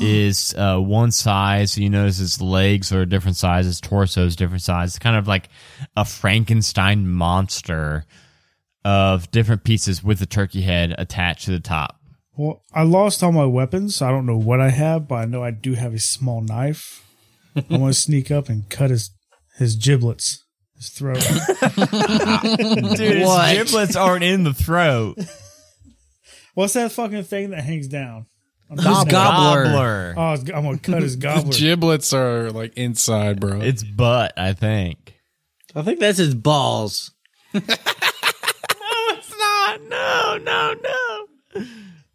S1: is uh, one size. You notice its legs are a different size. Its torso is different size. It's kind of like a Frankenstein monster of different pieces with the turkey head attached to the top.
S4: Well, I lost all my weapons. So I don't know what I have, but I know I do have a small knife. I'm gonna sneak up and cut his his giblets, his throat.
S1: Dude, its
S3: What?
S1: giblets aren't in the throat.
S4: What's that fucking thing that hangs down?
S3: Who's gobbler?
S1: Gobbler.
S4: Oh, I'm gonna cut his
S7: The
S4: gobbler.
S7: giblets are like inside, bro.
S1: Its butt, I think.
S3: I think that's his balls.
S1: It's not. No, no, no.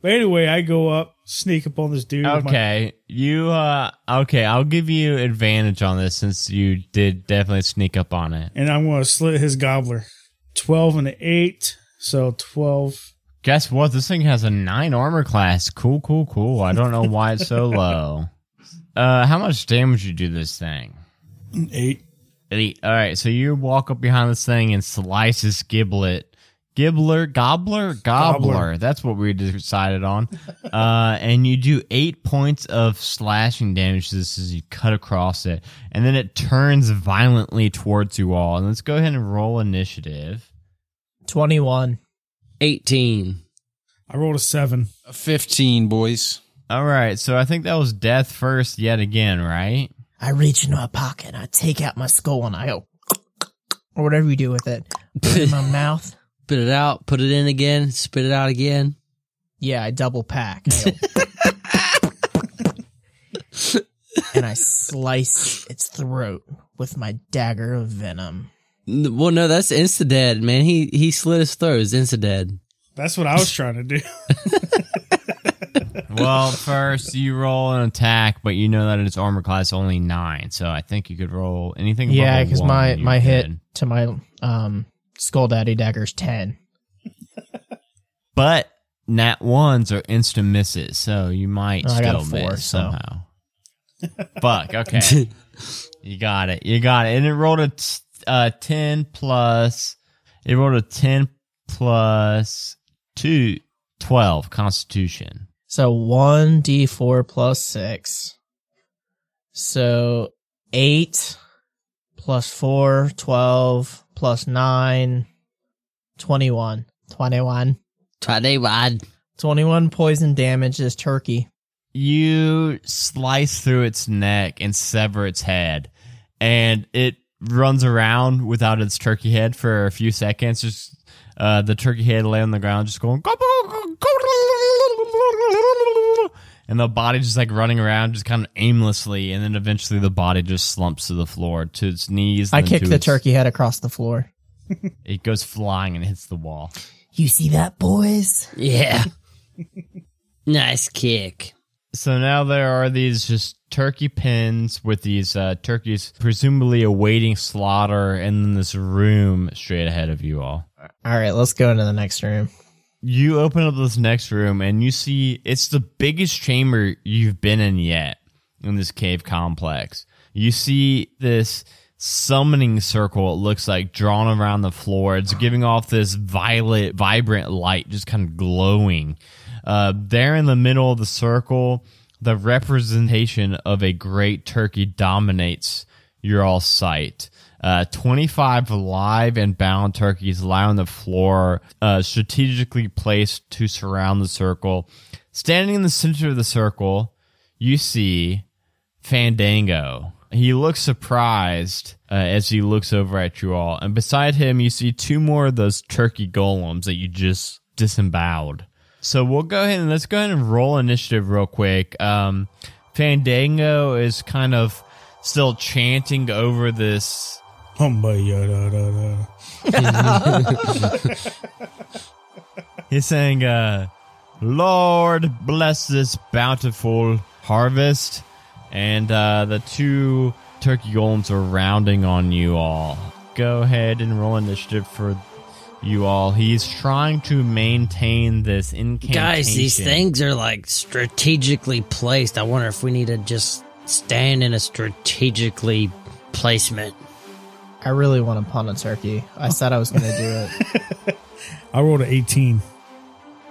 S4: But anyway, I go up, sneak up on this dude. with my-
S1: Okay, you. uh Okay, I'll give you advantage on this since you did definitely sneak up on it.
S4: and I'm going to slit his gobbler. 12 and an 8. So 12.
S1: Guess what? This thing has a nine armor class. Cool, cool, cool. I don't know why it's so low. Uh, how much damage you do this thing?
S4: 8.
S1: Eight. All right, so you walk up behind this thing and slice this giblet. Gibbler, gobbler, gobbler.
S4: Gobbler.
S1: That's what we decided on. uh, and you do eight points of slashing damage to this as you cut across it. And then it turns violently towards you all. And let's go ahead and roll initiative.
S2: 21.
S3: 18.
S4: I rolled a seven.
S7: A 15, boys.
S1: All right, so I think that was death first yet again, right?
S2: I reach into my pocket and I take out my skull and I go, or whatever you do with it, Put it in my mouth.
S3: Spit it out, put it in again, spit it out again.
S2: Yeah, I double pack. I go, and I slice its throat with my dagger of venom.
S3: N- Well, no, that's insta dead, man. He he slit his throat. It's insta dead.
S4: That's what I was trying to do.
S1: Well, first you roll an attack, but you know that its armor class is only nine, so I think you could roll anything. above
S2: Yeah,
S1: a
S2: because
S1: one
S2: my
S1: and you're
S2: my hit
S1: good.
S2: to my um skull daddy dagger's ten.
S1: but nat ones are instant misses, so you might
S2: Oh, I got
S1: still
S2: a four,
S1: miss
S2: so-
S1: somehow. Fuck. Okay, you got it. You got it. And it rolled a t- uh, ten plus. It rolled a ten plus two. 12 constitution
S2: So one d four plus six. So eight plus four, 12 plus nine, 21. 21.
S3: Try they wide.
S2: 21 poison damage is turkey.
S1: you slice through its neck and sever its head and it runs around without its turkey head for a few seconds just uh, the turkey head lay on the ground just going and the body just like running around just kind of aimlessly and then eventually the body just slumps to the floor to its knees
S2: I
S1: and then
S2: kick
S1: to
S2: the
S1: its-
S2: turkey head across the floor.
S1: it goes flying and hits the wall
S2: You see that, boys?
S3: Yeah. nice kick.
S1: So now there are these just turkey pens with these uh, turkeys presumably awaiting slaughter in this room straight ahead of you all.
S2: All right, let's go into the next room.
S1: You open up this next room and you see it's the biggest chamber you've been in yet in this cave complex. You see this summoning circle, it looks like, drawn around the floor. It's giving off this violet, vibrant light, just kind of glowing. Uh, there in the middle of the circle, the representation of a great turkey dominates your all sight. Uh, 25 live and bound turkeys lie on the floor, uh, strategically placed to surround the circle. Standing in the center of the circle, you see Fandango. He looks surprised uh, as he looks over at you all. And beside him, you see two more of those turkey golems that you just disemboweled. So we'll go ahead and let's go ahead and roll initiative real quick. Um, Fandango is kind of still chanting over this.
S4: Humba yada Oh, da da.
S1: He's saying, uh, Lord bless this bountiful harvest. And uh, the two turkey golems are rounding on you all. Go ahead and roll initiative for you all. He's trying to maintain this incantation.
S3: Guys, these things are like strategically placed. I wonder if we need to just stand in a strategically placement.
S2: I really want to pawn a turkey. I said I was going to do it.
S4: I rolled an eighteen.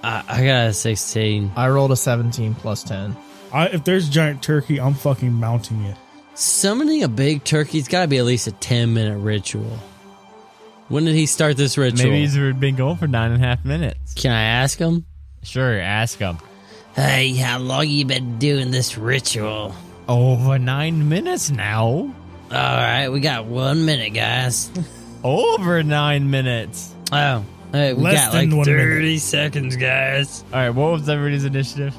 S3: I, I got a 16.
S2: I rolled a 17 plus 10.
S4: I, if there's giant turkey, I'm fucking mounting it.
S3: Summoning a big turkey's got to be at least a 10 minute ritual. When did he start this ritual?
S1: Maybe he's been going for nine and a half minutes.
S3: Can I ask him?
S1: Sure, ask him.
S3: Hey, how long you been doing this ritual?
S1: Over nine minutes now.
S3: All right, we got one minute, guys.
S1: Over nine minutes.
S3: Oh, hey, we
S4: Less
S3: got
S4: than one
S3: like
S4: minute.
S3: 30 seconds, guys.
S1: All right, what was everybody's initiative?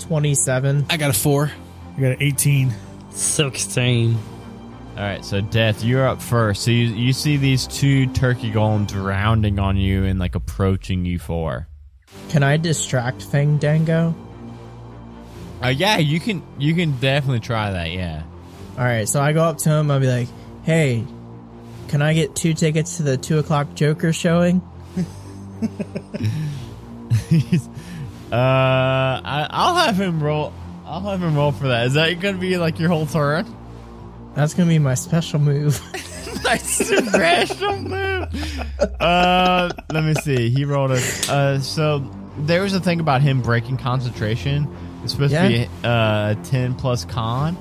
S2: 27.
S7: I got a four.
S4: I got an eighteen.
S3: 16.
S1: All right, so Death, you're up first. So you, you see these two turkey golems rounding on you and like approaching you for.
S2: Can I distract Fandango?
S1: Uh, yeah, you can you can definitely try that. Yeah.
S2: All right, so I go up to him. I'll be like, "Hey, can I get two tickets to the two o'clock Joker showing?"
S1: uh, I, I'll have him roll. I'll have him roll for that. Is that gonna be like your whole turn?
S2: That's gonna be my special move.
S1: nice rational move. Uh, let me see. He rolled a. Uh, so there was a thing about him breaking concentration. It's supposed to be uh ten plus con,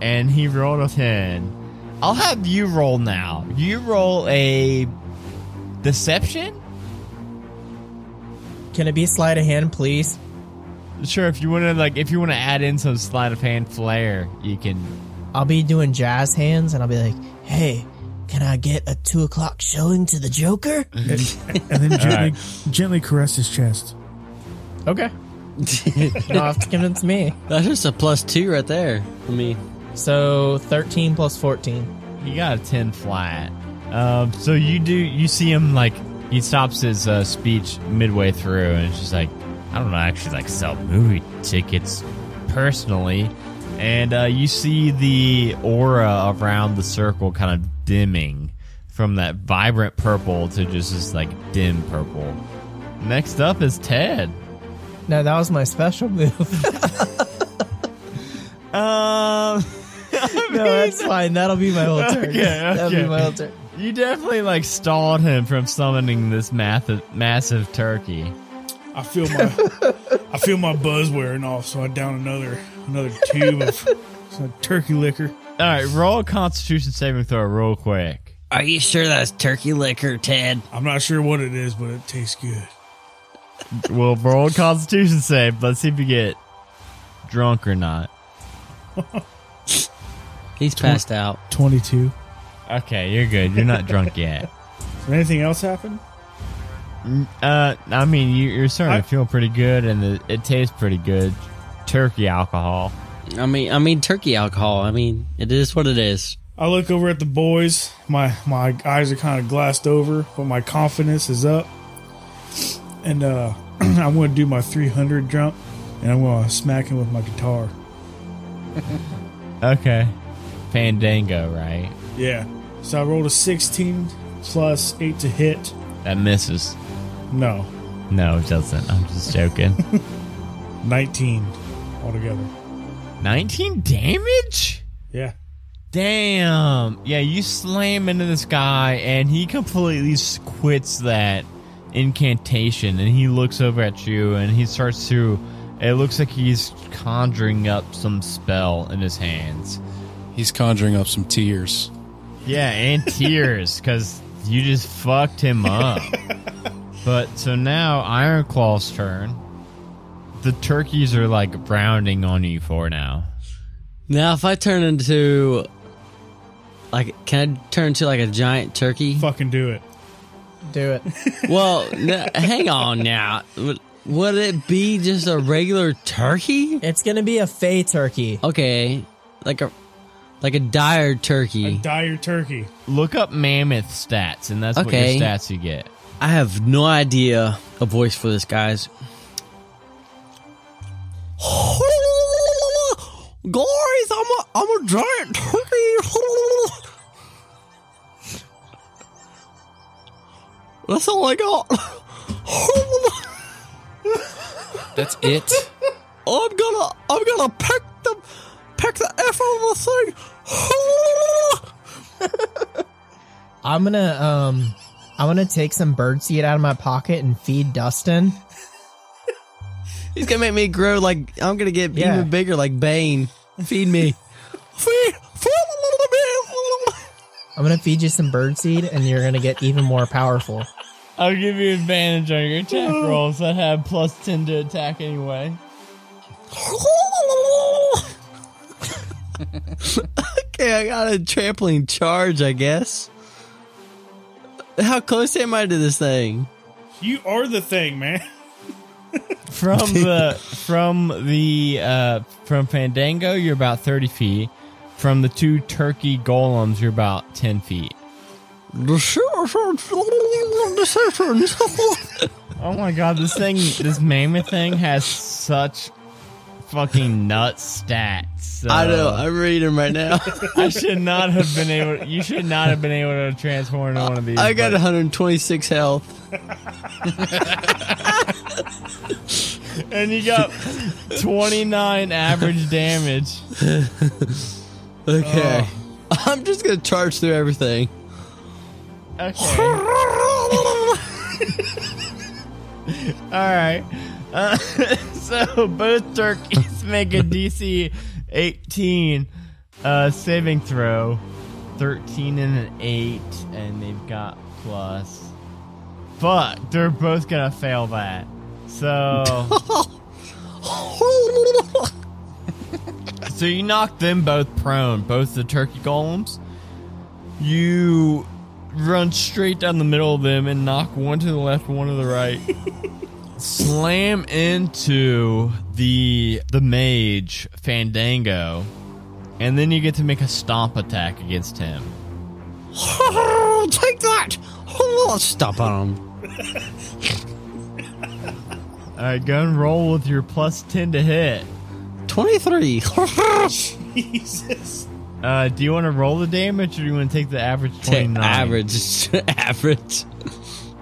S1: and he rolled a ten. I'll have you roll now. You roll a Deception?
S2: Can it be sleight of hand, please?
S1: Sure, if you wanna like if you wanna add in some sleight of hand flair, you can
S2: I'll be doing jazz hands and I'll be like, hey, can I get a two o'clock showing to the Joker?
S4: and then gently, gently caress his chest.
S2: Okay. You'll have to convince me.
S3: That's just a plus two right there. I mean,
S2: So 13 plus 14.
S1: he got a ten flat. Um so you do you see him like he stops his uh, speech midway through and it's just like I don't know, I actually like sell movie tickets personally. And uh, you see the aura around the circle kind of dimming from that vibrant purple to just this like dim purple. Next up is Ted.
S2: No, that was my special move.
S1: Um,
S2: no, that's fine. That'll be my whole turn.
S1: Okay,
S2: That'll
S1: okay.
S2: be my whole turn.
S1: you definitely like stalled him from summoning this massive, massive turkey.
S4: I feel my I feel my buzz wearing off, so I down another another tube of some turkey liquor.
S1: All right, roll a Constitution saving throw real quick.
S3: are you sure that's turkey liquor, Ted?
S4: I'm not sure what it is, but it tastes good.
S1: We'll roll a Constitution save. Let's see if you get drunk or not.
S3: He's passed out.
S4: Twenty two.
S1: Okay, you're good. You're not drunk yet.
S4: Anything else happen?
S1: Uh, I mean, you, you're starting
S4: I-
S1: to feel pretty good, and it, it tastes pretty good. Turkey alcohol.
S3: I mean, I mean turkey alcohol. I mean, it is what it is.
S4: I look over at the boys. My my eyes are kind of glassed over, but my confidence is up. And uh, I'm going to do my 300 jump, and I'm going to smack him with my guitar.
S1: Okay, Fandango, right?
S4: Yeah. So I rolled a 16 plus eight to hit.
S1: That misses.
S4: No,
S1: No, it doesn't. I'm just joking.
S4: 19 altogether.
S1: 19 damage?
S4: Yeah.
S1: Damn. Yeah, you slam into this guy, and he completely s- quits that incantation, and he looks over at you, and he starts to. It looks like he's conjuring up some spell in his hands.
S7: He's conjuring up some tears.
S1: Yeah, and tears, because you just fucked him up. but so now Ironclaw's turn. The turkeys are like rounding on you for now.
S3: Now, if I turn into like, can I turn into like a giant turkey?
S4: Fucking do it.
S2: Do it.
S3: Well, n- hang on now. Would- Would it be just a regular turkey?
S2: It's going to be a Fey turkey.
S3: Okay, like a like a dire turkey.
S4: Die your turkey.
S1: Look up mammoth stats, and that's
S3: Okay.
S1: what your stats you get.
S3: I have no idea a voice for this, guys. Guys, I'm a, I'm a giant turkey. That's all I got.
S7: That's it.
S3: I'm gonna I'm gonna peck the peck the f out of the thing.
S2: I'm going to, um, I'm going to take some birdseed out of my pocket and feed Dustin.
S3: He's gonna make me grow like I'm gonna get
S2: Yeah.
S3: even bigger like Bane. Feed me. feed, feed a little bit.
S2: I'm going to feed you some birdseed and you're going to get even more powerful.
S1: I'll give you advantage on your attack rolls that have plus 10 to attack anyway.
S3: okay, I got a trampling charge, I guess. How close am I to this thing?
S4: You are the thing, man.
S1: From the from the uh from Fandango you're about 30 feet. From the two turkey golems you're about 10 feet. Oh my god, this thing this mammoth thing has such fucking nut stats.
S3: I
S1: uh,
S3: know. I'm reading right now.
S1: I should not have been able you should not have been able to transform into one of these.
S3: I got
S1: but-
S3: 126 health.
S1: and you got 29 average damage.
S3: Okay. I'm just gonna charge through everything.
S1: Okay. All right. Uh, so both turkeys make a DC 18 uh, saving throw, 13 and an 8, and they've got plus fuck, they're both gonna fail that. So. so you knock them both prone, both the turkey golems. You run straight down the middle of them and knock one to the left, one to the right. Slam into the the mage Fandango, and then you get to make a stomp attack against him.
S3: take that! Stop on him.
S1: All right, go and roll with your plus ten to hit.
S3: 23.
S4: Jesus.
S1: Uh, do you want to roll the damage, or do you want to take the average twenty nine?
S3: average. average.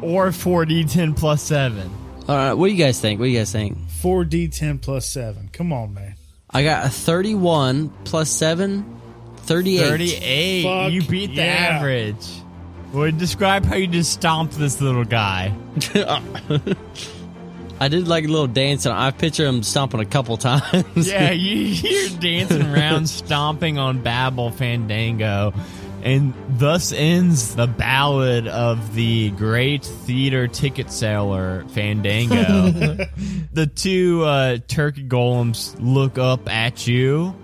S1: or four d ten plus seven.
S3: All right, what do you guys think? What do you guys think?
S4: 4d10 plus 7. Come on, man.
S3: I got a 31 plus 7, 38.
S1: Thirty eight.
S4: Fuck
S1: you beat the
S4: yeah.
S1: average. Well, describe how you just stomped this little guy.
S3: I did like a little dance, and I picture him stomping a couple times.
S1: Yeah, you, you're dancing around, stomping on Babel Fandango. And thus ends the ballad of the great theater ticket seller, Fandango. the two uh, turkey golems look up at you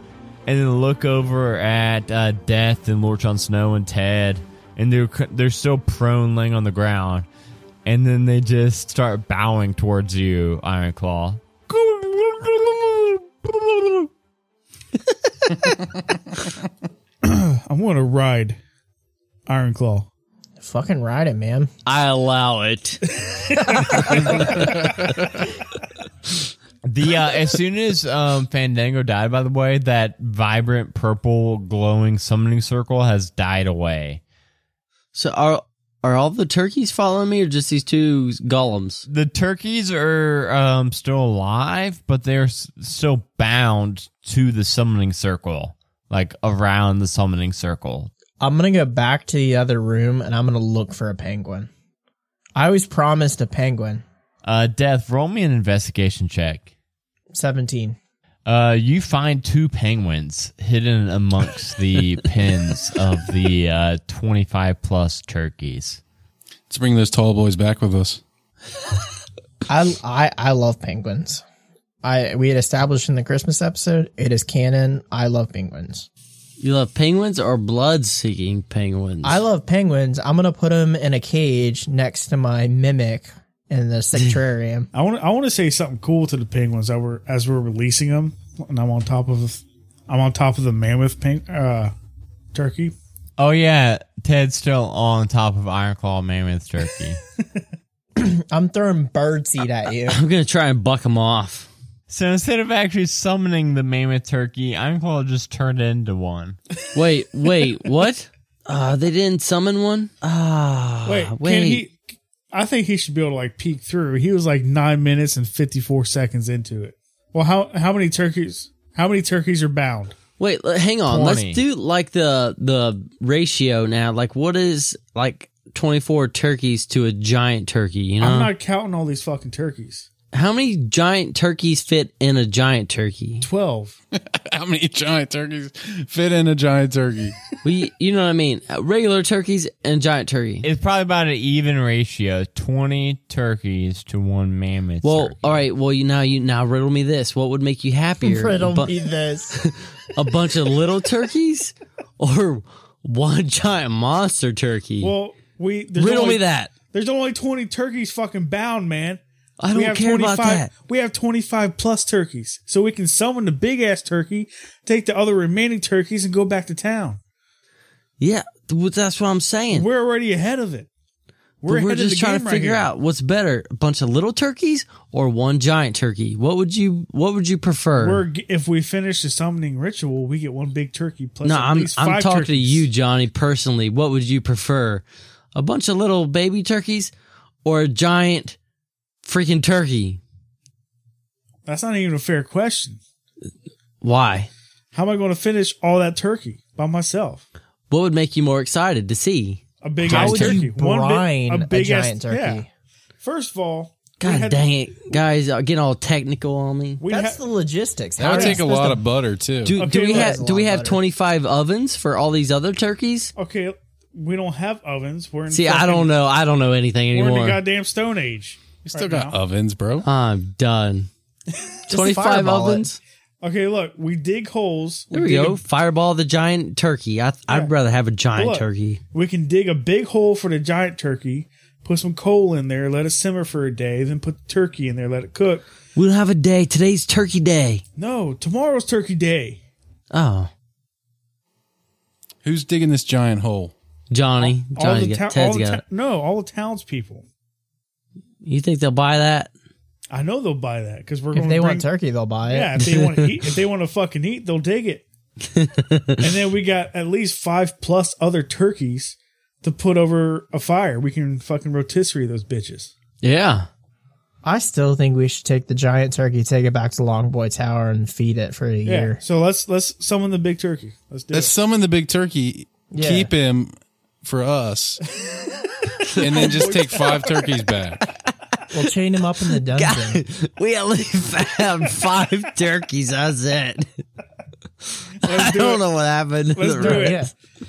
S1: and then look over at uh, Death and Lord John Snow and Ted. And they're, they're still prone laying on the ground. And then they just start bowing towards you, Iron Claw.
S4: I want to ride Iron Claw.
S2: Fucking ride it, man.
S3: I allow it.
S1: The uh, as soon as um, Fandango died, by the way, that vibrant purple glowing summoning circle has died away.
S3: So are are all the turkeys following me, or just these two golems?
S1: The turkeys are um, still alive, but they're s- still bound to the summoning circle, like around the summoning circle.
S2: I'm gonna go back to the other room and I'm gonna look for a penguin. I always promised a penguin.
S1: Uh, Death, roll me an investigation check.
S2: Seventeen.
S1: Uh, you find two penguins hidden amongst the pins of the uh, twenty-five plus turkeys.
S7: Let's bring those tall boys back with us.
S2: I I I love penguins. I we had established in the Christmas episode it is canon. I love penguins.
S3: You love penguins or blood-seeking penguins?
S2: I love penguins. I'm gonna put them in a cage next to my mimic in the sanctuarium.
S4: I want to I want to say something cool to the penguins that were as we're releasing them and I'm on top of I'm on top of the mammoth pen, uh turkey.
S1: Oh yeah, Ted's still on top of Iron Claw Mammoth Turkey.
S2: I'm throwing birdseed at you.
S3: I'm gonna try and buck them off.
S1: so instead of actually summoning the Mammoth Turkey, Iron Claw just turned into one.
S3: Wait, wait, what? Uh, they didn't summon one. Ah,
S4: Wait, can he I think he should be able to like peek through. He was like 9 minutes and 54 seconds into it. Well, how how many turkeys how many turkeys are bound?
S3: Wait, l- hang on.
S1: 20.
S3: Let's do like the the ratio now. Like, what is like twenty four turkeys to a giant turkey? You know,
S4: I'm not counting all these fucking turkeys.
S3: how many giant turkeys fit in a giant turkey?
S4: 12.
S7: How many giant turkeys fit in a giant turkey?
S3: we, you know what I mean? Uh, Regular turkeys and giant turkey.
S1: It's probably about an even ratio: twenty turkeys to one Mammoth.
S3: well,
S1: turkey.
S3: all right. Well, you now you now riddle me this. What would make you happier? a, bu-
S2: this.
S3: a bunch of little turkeys or one giant monster turkey?
S4: Well, we there's
S3: riddle
S4: only,
S3: me that.
S4: There's only 20 turkeys fucking bound, man.
S3: I don't care about that.
S4: We have 25 plus turkeys. So we can summon the big ass turkey, take the other remaining turkeys, and go back to town.
S3: Yeah, th- that's what I'm saying.
S4: We're already ahead of it.
S3: But We're,
S4: ahead of
S3: just
S4: the
S3: trying
S4: game
S3: to
S4: right
S3: figure
S4: here.
S3: out what's better, a bunch of little turkeys or one giant turkey. What would you What would you prefer?
S4: We're, g- if we finish the summoning ritual, we get one big turkey plus
S3: no,
S4: at
S3: I'm
S4: least
S3: I'm
S4: five
S3: talking to
S4: turkeys.
S3: you, Johnny, personally. What would you prefer, a bunch of little baby turkeys or a giant freaking turkey?
S4: That's not even a fair question.
S3: Why?
S4: How am I going to finish all that turkey by myself?
S3: What would make you more excited to see?
S4: A big
S2: How
S4: ass
S2: would
S4: turkey.
S2: you brine a,
S4: big-ass-
S2: giant turkey?
S4: yeah. First of all, we
S3: God
S4: had-
S3: dang it, guys! Y'all getting all technical on me.
S4: We
S2: That's
S4: had-
S2: the logistics.
S7: That would
S2: are you
S7: take a
S2: supposed
S7: lot
S2: to-
S7: of butter too.
S3: Do,
S4: Okay,
S3: do we
S4: well,
S3: have
S2: that's a
S3: Do we
S2: lot
S3: have
S2: better.
S3: 25 ovens for all these other turkeys?
S4: okay, we don't have ovens. We're in
S3: See, I
S4: fucking-
S3: don't know. I don't know anything
S4: We're in the
S3: anymore.
S4: goddamn Stone Age.
S7: You still
S4: Right
S7: got
S4: now.
S7: ovens, bro.
S3: I'm done. Twenty five
S2: fireball it.
S3: ovens.
S4: Okay, look, we dig holes.
S3: There we
S4: dig
S3: go.
S4: a-
S3: Fireball the giant turkey. I, I'd rather have a giant
S4: Look.
S3: turkey.
S4: we can dig a big hole for the giant turkey, put some coal in there, let it simmer for a day, then put the turkey in there, let it cook.
S3: We'll have a day. Today's turkey day.
S4: No, tomorrow's turkey day.
S3: Oh,
S7: Who's digging this giant hole?
S3: Johnny.
S4: All the
S3: Johnny's
S4: town,
S3: got,
S4: all
S3: Ted's
S4: the
S3: got
S4: ta-
S3: it.
S4: no, all the townspeople.
S3: You think they'll buy that?
S4: I know they'll buy that because we're
S2: If
S4: going.
S2: they
S4: bring,
S2: want turkey, they'll buy it.
S4: yeah, if they want to eat, if they want to fucking eat, they'll dig it. and then we got at least five plus other turkeys to put over a fire. We can fucking rotisserie those bitches.
S3: Yeah.
S2: I still think we should take the giant turkey, take it back to Longboy Tower, and feed it for a
S4: Yeah.
S2: year.
S4: So let's let's summon the big turkey. Let's do
S7: Let's
S4: it.
S7: summon the big turkey,
S2: Yeah.
S7: keep him for us, and then just take five turkeys back.
S2: We'll chain him up in the dungeon.
S3: we only found five turkeys. That's it. I
S4: do
S3: don't
S4: it.
S3: know what happened.
S4: Let's do it.
S2: yeah,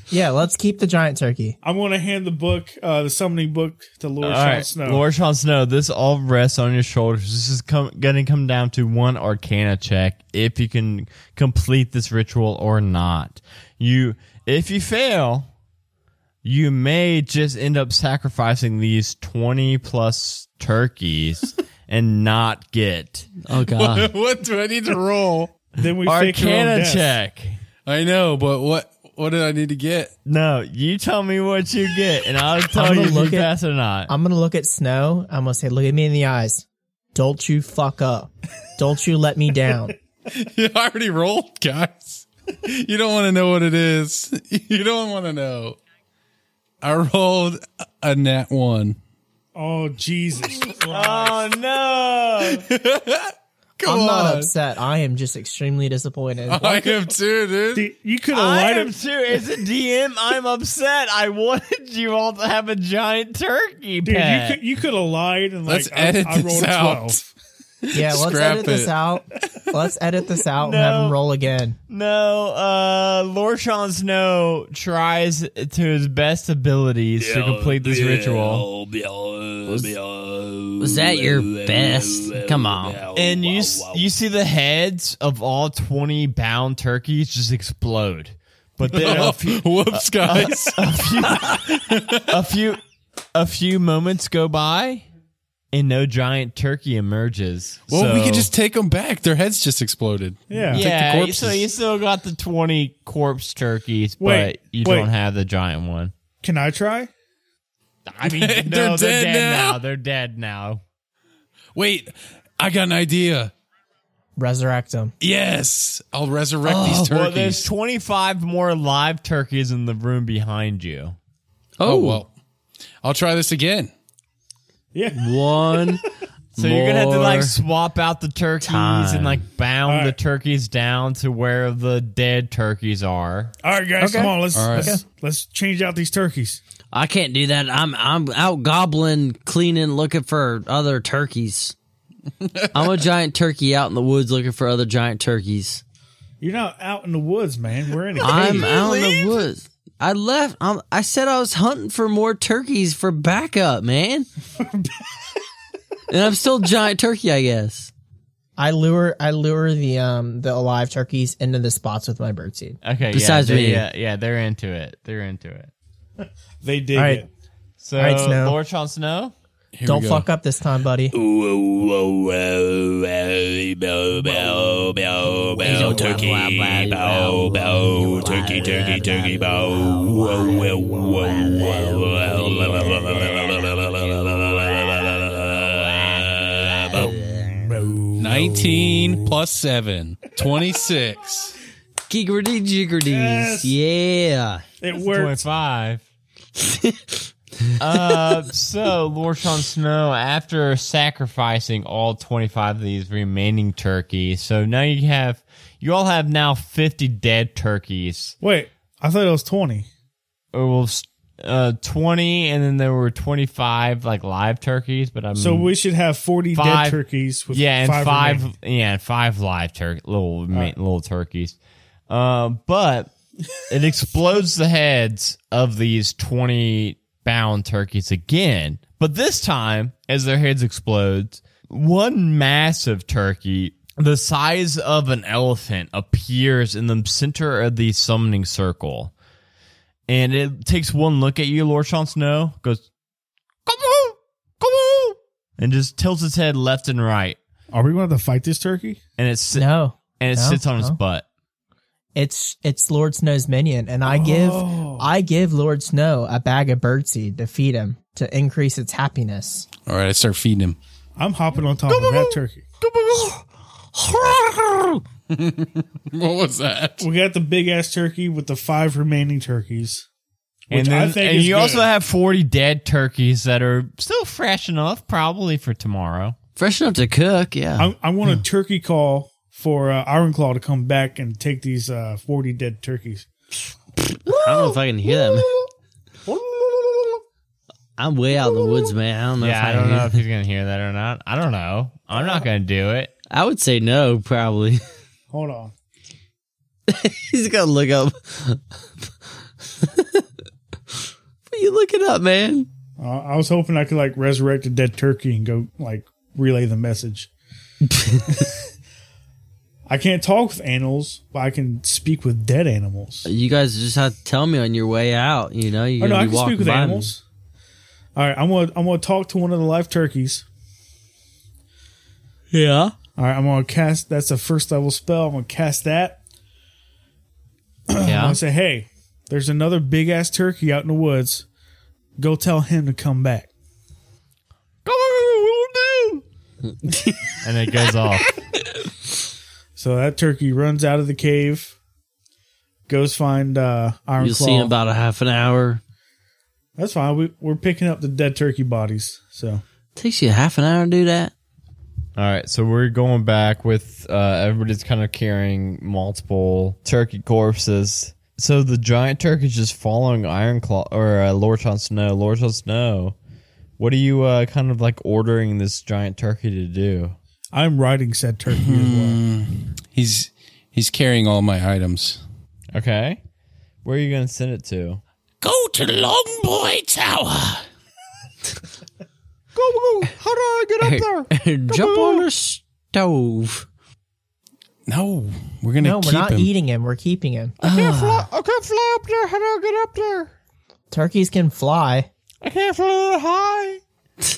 S2: yeah. Let's keep the giant turkey.
S4: I'm going to hand the book, uh, the summoning book, to Lord Sean Snow.
S1: Lord Sean Snow, this all rests on your shoulders. This is com- going to come down to one arcana check if you can complete this ritual or not. You, if you fail, you may just end up sacrificing these 20 plus turkeys and not get
S3: Oh god.
S7: what do I need to roll?
S4: then we fake our own
S1: arcana
S4: death.
S1: check.
S7: I know, but what what do I need to get?
S1: No, you tell me what you get, and I'll tell you
S2: I'm gonna
S1: if you
S2: look at-
S1: pass or not.
S2: I'm gonna look at Snow. I'm gonna say, look at me in the eyes. Don't you fuck up. Don't you let me down.
S7: I already rolled, guys. You don't want to know what it is. You don't want to know. I rolled a nat one.
S4: Oh, Jesus.
S1: oh no!
S7: Come
S2: I'm
S7: on.
S2: not upset. I am just extremely disappointed.
S7: I am too, dude.
S4: Dude, you could have
S1: I
S4: lied
S1: am
S4: him.
S1: too. As a DM, I'm upset. I wanted you all to have a giant turkey
S4: Dude, you
S1: pet.
S4: could you could have lied and like
S7: Let's
S4: I,
S7: edit
S4: I rolled
S7: this
S4: a
S7: out.
S4: twelve.
S2: yeah, let's
S7: Scrap
S2: edit this
S7: it.
S2: out. Let's edit this out and have
S1: No.
S2: him roll again.
S1: no, uh, Lord Sean Snow tries to his best abilities to complete this ritual,
S3: Was that your best? Come on.
S1: and you s you see the heads of all twenty bound turkeys just explode. But then a few,
S7: Whoops, guys.
S1: a few a few moments go by, and no giant turkey emerges.
S7: well, we
S1: So-
S7: could just take them back. Their heads just exploded.
S4: Yeah.
S1: yeah,
S7: corpses.
S1: so you still got the 20 corpse turkeys,
S4: Wait,
S1: but you
S4: wait.
S1: don't have the giant one.
S4: Can I try?
S1: I mean, no, they're,
S7: They're
S1: dead,
S7: dead
S1: now.
S7: now.
S1: They're dead now.
S7: Wait, I got an idea.
S2: Resurrect him.
S7: Yes, I'll resurrect these
S1: Well, there's
S7: turkeys.
S1: 25 more live turkeys in the room behind you.
S7: oh well, I'll try this again.
S4: Yeah.
S3: One.
S1: So you're gonna have to like
S3: more.
S1: swap out the turkeys and like bound
S4: All
S1: the
S4: right.
S1: turkeys down to where the dead turkeys are.
S4: All right, guys, come on. Let's
S7: All right.
S4: let's, let's change out these turkeys.
S3: I can't do that. I'm I'm out gobbling, cleaning, looking for other turkeys. I'm a giant turkey out in the woods looking for other giant turkeys.
S4: You're not out in the woods, man. We're in a
S3: I'm
S4: cave.
S3: out in the woods. I left. i I said I was hunting for more turkeys for backup, man. and I'm still giant turkey, I guess.
S2: I lure I lure the um the alive turkeys into the spots with my bird seed.
S1: Okay, yeah,
S3: Besides
S1: they-
S3: me.
S1: yeah, yeah, they're into it. They're into it.
S4: They dig
S2: All right.
S4: it.
S1: So,
S2: All right, Snow.
S1: Lord Sean Snow.
S7: Here
S2: Don't
S7: we go.
S2: fuck up this time, buddy.
S6: Bow, turkey, bow, bow, turkey, turkey, turkey, bow.
S7: Nineteen plus seven. Twenty-six.
S3: Giggerdy jiggerdies.
S4: Yes.
S3: Yeah.
S4: It worked.
S1: 25. uh, so, Lord Sean Snow, after sacrificing all 25 of these remaining turkeys, so now you have, you all have now 50 dead turkeys.
S4: Wait, I thought it was twenty.
S1: Or well, s- uh, 20, and then there were 25 like live turkeys, but I'm.
S4: So we should have forty
S1: Hmm. Five.
S4: dead turkeys with
S1: yeah, and
S4: five,
S1: five,
S4: remaining.
S1: yeah, and five live turkey little ma- little turkeys. Uh, but it explodes the heads of these 20 bound turkeys again. But this time, as their heads explode, one massive turkey, the size of an elephant, appears in the center of the summoning circle. And it takes one look at you, Lord Sean Snow, goes, come on, come on, and just tilts its head left and right.
S4: Are we going to have to fight this turkey?
S1: And it, si-
S2: No,
S1: and it
S2: no,
S1: sits on its
S2: no.
S1: butt.
S2: it's it's Lord Snow's minion, and I give
S1: Oh.
S2: I give Lord Snow a bag of birdseed to feed him to increase its happiness.
S7: All right, I start feeding him.
S4: I'm hopping on top of that turkey.
S7: What was that?
S4: We got the big ass turkey with the five remaining turkeys.
S1: and
S4: Which I
S1: then,
S4: think
S1: and
S4: is
S1: you
S4: good.
S1: also have 40 dead turkeys that are still fresh enough probably for tomorrow
S3: Fresh enough to cook, yeah.
S4: I, I want a turkey call for uh, Ironclaw to come back and take these uh, 40 dead turkeys.
S3: I don't know if I can hear them. I'm way out in the woods, man. I don't know.
S1: yeah
S3: if I,
S1: i don't
S3: hear
S1: know if
S3: them.
S1: he's gonna hear that or not i don't know i'm not gonna do it
S3: I would say no, probably.
S4: Hold on.
S3: He's gonna look up. what are you looking up, man?
S4: Uh, I was hoping I could like resurrect a dead turkey and go like relay the message. I can't talk with animals, but I can speak with dead animals.
S3: You guys just have to tell me on your way out. You know,
S4: Oh
S3: you're
S4: no,
S3: gonna
S4: I
S3: be
S4: can
S3: walking
S4: speak with
S3: by me.
S4: animals. All right, I'm gonna I'm gonna talk to one of the live turkeys.
S3: Yeah.
S4: All right, I'm gonna cast. That's a first level spell. I'm gonna cast that.
S3: Yeah.
S4: I say, hey, there's another big ass turkey out in the woods. Go tell him to come back.
S1: come on we'll do and it goes off
S4: So that turkey runs out of the cave, goes find uh, Iron
S3: You'll
S4: Claw.
S3: see in about a half an hour.
S4: That's fine. We, we're picking up the dead turkey bodies. So
S3: Takes you half an hour to do that.
S1: all right so we're going back with uh, everybody's kind of carrying multiple turkey corpses so the giant turkey's just following iron claw or uh, lord Sean snow lord Sean snow what are you uh, kind of like ordering this giant turkey to do
S4: I'm riding said turkey as
S3: Hmm.
S4: well.
S7: He's he's carrying all my items.
S1: Okay. Where are you going to send it to?
S6: Go to Longboy Tower.
S3: Jump on a stove.
S7: No, we're gonna
S2: No,
S7: keep
S2: we're not
S7: him.
S2: eating him. We're keeping him.
S1: Ah. I can't fly up there. How do I get up there?
S2: Turkeys can fly.
S1: I can't fly that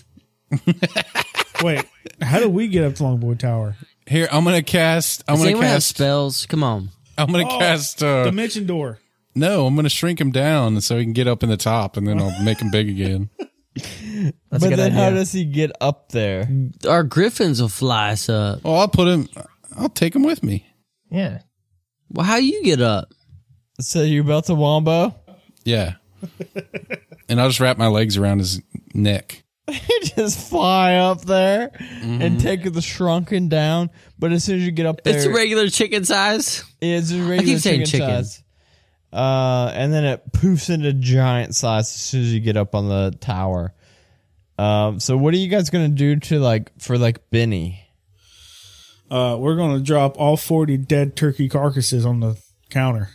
S1: high.
S4: Wait, how do we get up to Longboy Tower?
S7: Here, I'm gonna cast. I'm
S3: Does
S7: gonna
S3: anyone have
S7: cast.
S3: spells? Come on.
S7: I'm gonna cast. Uh,
S4: Dimension door.
S7: no, I'm gonna shrink him down so he can get up in the top, and then I'll make him big again.
S2: That's a
S1: but
S2: good
S1: then
S2: idea.
S1: how does he get up there?
S3: Our griffins will fly us up.
S7: Well, I'll put him. I'll take him with me.
S2: yeah.
S3: Well, how you get up?
S1: So you about to wombo?
S7: Yeah. and I'll just wrap my legs around his neck.
S1: You just fly up there and take the shrunken down. But as soon as you get up there,
S3: Mm-hmm. It's a regular chicken size.
S1: it's a regular chicken,
S3: saying chicken.
S1: size. Uh, and then it poofs into giant size as soon as you get up on the tower. Um, so what are you guys gonna do to like for like Benny?
S4: Uh, we're gonna drop all forty dead turkey carcasses on the counter.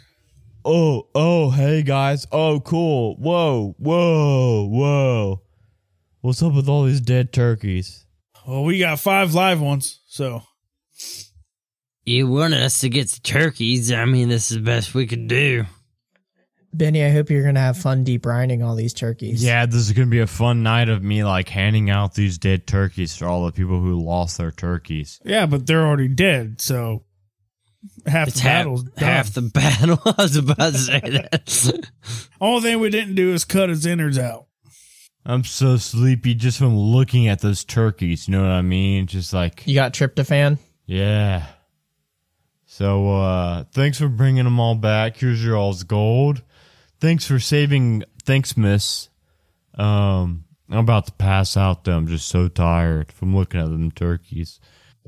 S1: oh, oh, hey guys. Oh, cool. Whoa, whoa, whoa. What's up with all these dead turkeys?
S4: Well, we got five live ones, so
S3: You wanted us to get the turkeys. I mean, this is the best we could do.
S2: Benny, I hope you're gonna have fun debrining all these turkeys.
S1: Yeah, this is going to be a fun night of me like handing out these dead turkeys to all the people who lost their turkeys.
S4: yeah, but they're already dead. So half
S3: It's
S4: the
S3: half,
S4: battle's done.
S3: half the battle. I was about to say that.
S4: Only thing we didn't do is cut his innards out.
S1: I'm so sleepy just from looking at those turkeys, you know what I mean? Just like
S2: You got tryptophan?
S1: Yeah. So uh thanks for bringing them all back. Here's your all's gold. Thanks for saving. Thanks, miss. Um I'm about to pass out though. I'm just so tired from looking at them turkeys.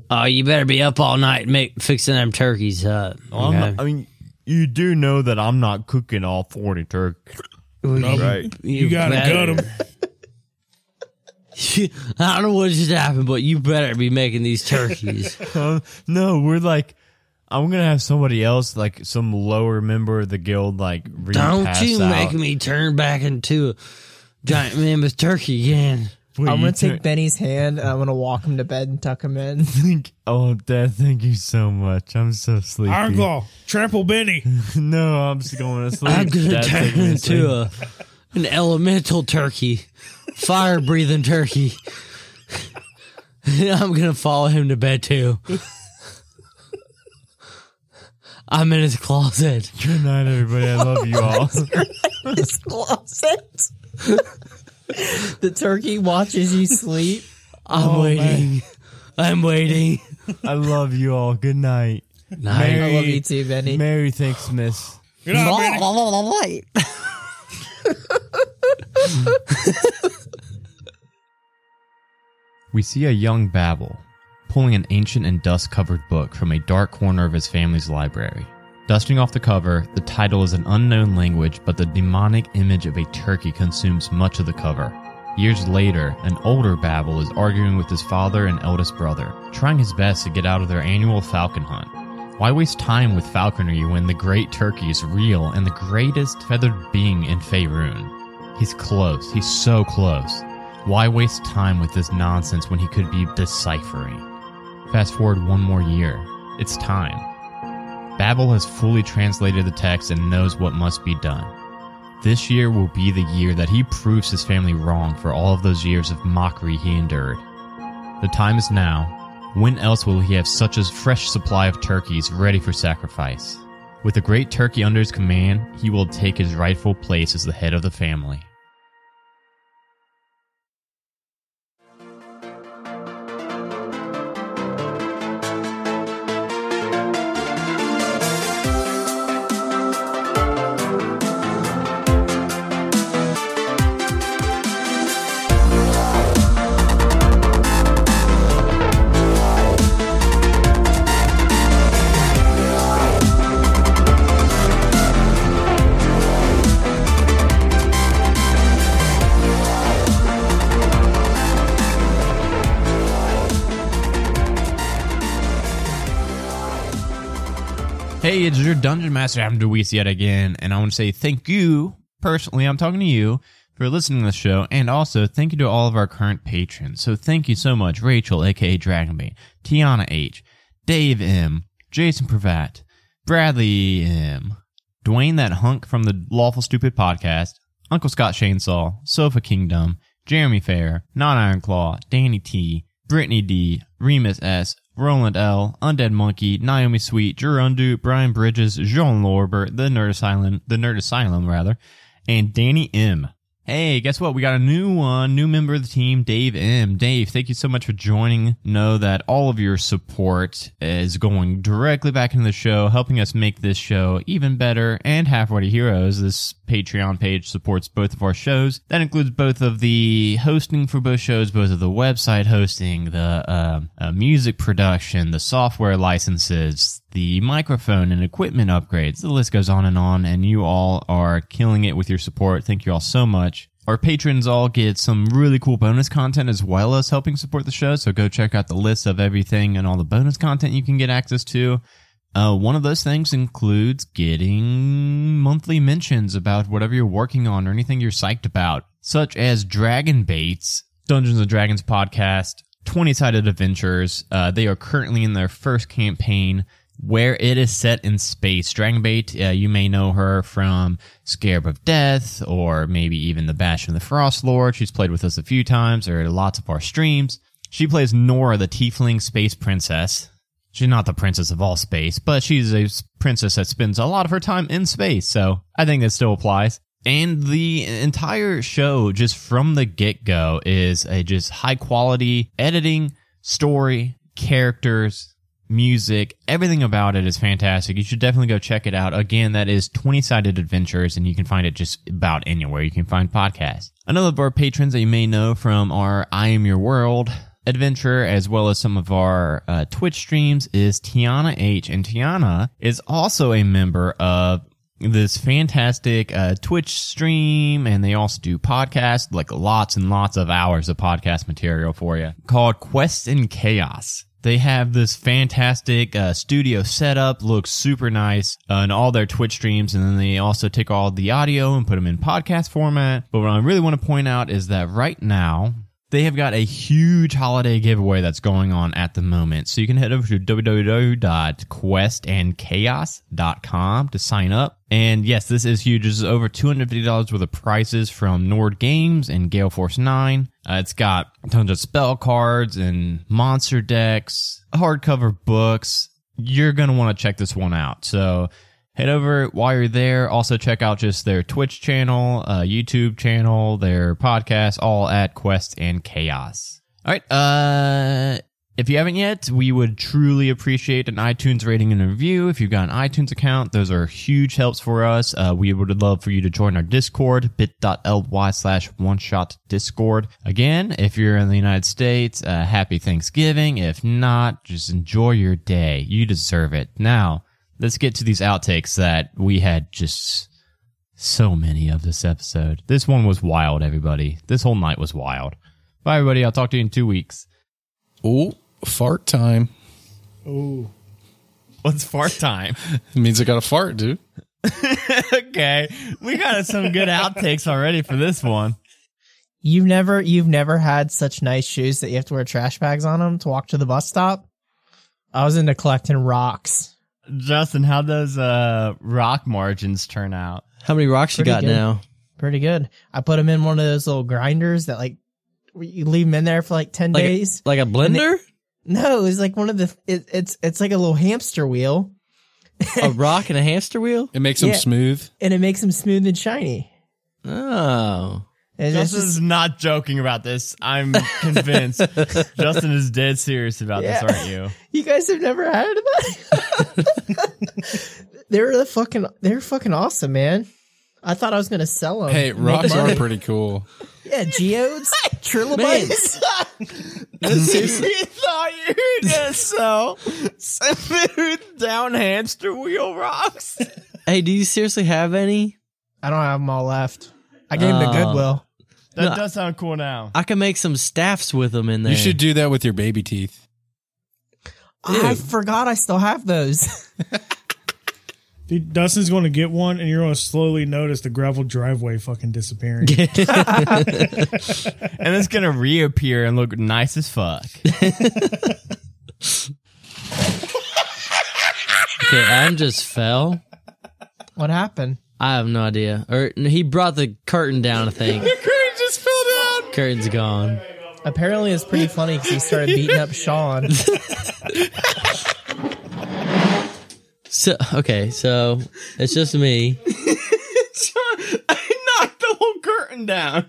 S3: oh, you better be up all night make, fixing them turkeys up.
S1: I'm
S3: okay?
S1: not- I mean, you do know that I'm not cooking all 40 turkeys. Right.
S4: You, gotta
S3: better-
S4: gut him.
S3: I don't know what just happened, but you better be making these turkeys.
S1: no, we're like
S8: I'm gonna have somebody else, like some lower member of the guild, like read
S3: Don't
S8: pass
S3: you
S8: out.
S3: make me turn back into a giant mammoth turkey again.
S8: Wait,
S2: I'm
S8: you
S2: gonna take
S8: turn-
S2: Benny's hand and I'm gonna walk him to bed and tuck him in.
S8: Thank, oh, Dad, thank you so much. I'm so sleepy.
S4: Iron Claw, trample Benny.
S8: No, I'm just going to sleep.
S3: I'm gonna
S8: Dad's
S3: turn
S8: taking me to sleep.
S3: into a an elemental turkey, fire breathing turkey. I'm gonna follow him to bed too. I'm in his closet.
S8: Good night, everybody. I love you all.
S2: his closet. the turkey watches you sleep.
S3: I'm waiting. I'm waiting.
S8: I love you all. Good night.
S3: Nice.
S2: I love you too, Benny.
S8: Merry Thanksmas.
S4: Good night, Benny.
S8: We see a young Babel pulling an ancient and dust covered book from a dark corner of his family's library. Dusting off the cover, the title is an unknown language, but the demonic image of a turkey consumes much of the cover. Years later, an older Babel is arguing with his father and eldest brother, trying his best to get out of their annual falcon hunt. Why waste time with falconry when the great turkey is real and the greatest feathered being in Faerun? He's close, he's so close. Why waste time with this nonsense when he could be deciphering? Fast forward one more year. It's time. Babel has fully translated the text and knows what must be done. This year will be the year that he proves his family wrong for all of those years of mockery he endured. The time is now. When else will he have such a fresh supply of turkeys ready for sacrifice? With the great turkey under his command, he will take his rightful place as the head of the family. Hey, it's your Dungeon Master, Adam DeWeese, yet again, and I want to say thank you, personally, I'm talking to you, for listening to the show, and also thank you to all of our current patrons. So thank you so much, Rachel, aka Dragonbait, Tiana H, Dave M, Jason Pravat, Bradley M, Dwayne that hunk from the Lawful Stupid podcast, Uncle Scott Chainsaw, Sofa Kingdom, Jeremy Fair, Non Iron Claw, Danny T, Brittany D, Remus S, Roland L, Undead Monkey, Naomi Sweet, Gerundu, Brian Bridges, Jean Lorber, The Nerd Asylum, The Nerd Asylum rather, and Danny M. Hey, guess what? We got a new one, new member of the team, Dave M. Dave, thank you so much for joining. Know that all of your support is going directly back into the show, helping us make this show even better. And Halfway to Heroes, this Patreon page supports both of our shows. That includes both of the hosting for both shows, both of the website hosting, the um, uh, music production, the software licenses, the microphone and equipment upgrades. The list goes on and on, and you all are killing it with your support. Thank you all so much. Our patrons all get some really cool bonus content as well as helping support the show. So go check out the list of everything and all the bonus content you can get access to. Uh, one of those things includes getting monthly mentions about whatever you're working on or anything you're psyched about, such as Dragon Baits, Dungeons and Dragons podcast, 20 Sided Adventures. Uh, they are currently in their first campaign where it is set in space. Dragonbait, uh, you may know her from Scarab of Death or maybe even The Bash of the Frost Lord. She's played with us a few times or at lots of our streams. She plays Nora, the tiefling space princess. She's not the princess of all space, but she's a s- princess that spends a lot of her time in space, so I think that still applies. And the entire show, just from the get go, is a just high quality editing, story, characters, music, everything about it is fantastic. You should definitely go check it out. Again, that is 20 Sided Adventures, and you can find it just about anywhere you can find podcasts. Another of our patrons that you may know from our I Am Your World adventure, as well as some of our uh, Twitch streams, is Tiana H. And Tiana is also a member of this fantastic uh, Twitch stream, and they also do podcasts, like lots and lots of hours of podcast material for you, called Quest in Chaos. They have this fantastic uh, studio setup, looks super nice uh, in all their Twitch streams. And then they also take all the audio and put them in podcast format. But what I really want to point out is that right now, they have got a huge holiday giveaway that's going on at the moment. So you can head over to www.questandchaos.com to sign up. And yes, this is huge. This is over $250 worth of prizes from Nord Games and Gale Force 9. Uh, it's got tons of spell cards and monster decks, hardcover books. You're going to want to check this one out. So head over while you're there. Also, check out just their Twitch channel, uh, YouTube channel, their podcast, all at Quest and Chaos. All right. Uh, if you haven't yet, we would truly appreciate an iTunes rating and review. If you've got an iTunes account, those are huge helps for us. Uh, we would love for you to join our Discord, bit.ly slash one shot Discord. Again, if you're in the United States, uh, happy Thanksgiving. If not, just enjoy your day. You deserve it. Now, let's get to these outtakes that we had just so many of this episode. This one was wild, everybody. This whole night was wild. Bye, everybody. I'll talk to you in two weeks.
S7: Oh, fart time.
S4: Oh,
S8: What's fart time?
S7: It means I got a fart, dude.
S8: okay, we got some good outtakes already for this one.
S2: You've never you've never had such nice shoes that you have to wear trash bags on them to walk to the bus stop. I was into collecting rocks.
S8: Justin, how those uh, rock margins turn out?
S3: How many rocks you
S2: Pretty
S3: got
S2: good.
S3: now?
S2: Pretty good. I put them in one of those little grinders that like you leave them in there for like ten
S3: Like a,
S2: days.
S3: like a blender?
S2: No, it's like one of the it, it's it's like a little hamster wheel,
S3: a rock and a hamster wheel?
S7: It makes them
S2: Yeah.
S7: smooth.
S2: and it makes them smooth and shiny.
S3: Oh.
S2: And it's
S8: Justin's
S2: just,
S8: not joking about this. I'm convinced. Justin is dead serious about
S2: Yeah.
S8: this, aren't you?
S2: you guys have never had that. they're the fucking they're fucking awesome, man. I thought I was gonna sell them.
S7: Hey, rocks are pretty cool.
S2: yeah, geodes, trilobites.
S8: he thought you were just so smooth down hamster wheel rocks.
S3: Hey, do you seriously have any?
S2: I don't have them all left. I gave them to
S3: Oh.
S2: Goodwill.
S8: That
S3: No.
S8: does sound cool now.
S3: I can make some staffs with them in there.
S7: You should do that with your baby teeth.
S2: I forgot I still have those.
S4: dude, Dustin's going to get one, and you're going to slowly notice the gravel driveway fucking disappearing.
S8: And it's gonna reappear and look nice as fuck.
S3: Okay, I'm just fell.
S2: what happened?
S3: I have no idea. Or no, he brought the curtain down. I think
S7: Curtain just fell down.
S3: curtain's gone.
S2: Apparently, it's pretty funny because he started beating up Sean.
S3: So okay, so it's just me.
S8: I knocked the whole curtain down.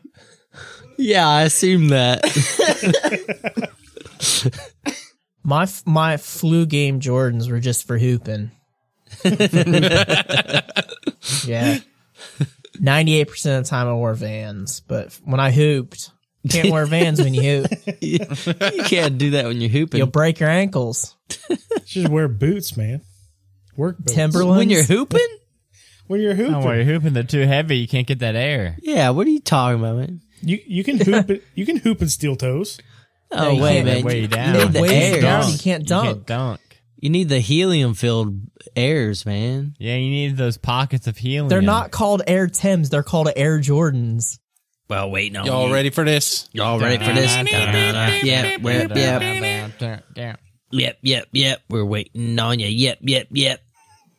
S3: Yeah, I assume that.
S2: My f- my flu game Jordans were just for hooping. yeah, ninety eight percent of the time I wore Vans, but when I hooped, you can't wear Vans when you hoop.
S3: you can't do that when you're hooping.
S2: You'll break your ankles.
S4: Just wear boots, man. Work boots.
S2: Timberlands.
S3: when you're hooping?
S4: When you're hooping,
S8: Oh, well, you're hooping they're too heavy. You can't get that air.
S3: Yeah. What are you talking about, man?
S4: you you can hoop it. You can hoop in steel toes.
S3: Oh
S2: you
S3: wait,
S2: can't.
S3: man.
S8: Way
S3: you
S8: down.
S3: need the
S2: Way down.
S3: airs.
S2: You can't
S8: You
S2: dunk.
S8: can't dunk.
S3: You need the helium filled airs, man.
S8: Yeah, you need those pockets of helium.
S2: They're not called Air Tims. They're called Air Jordans.
S3: Well, wait, no.
S7: Y'all ready for this?
S3: Y'all ready for this? Yeah. Yep. Yep. Yep. Yep. Yep. We're waiting on you. Yep. Yep. Yep.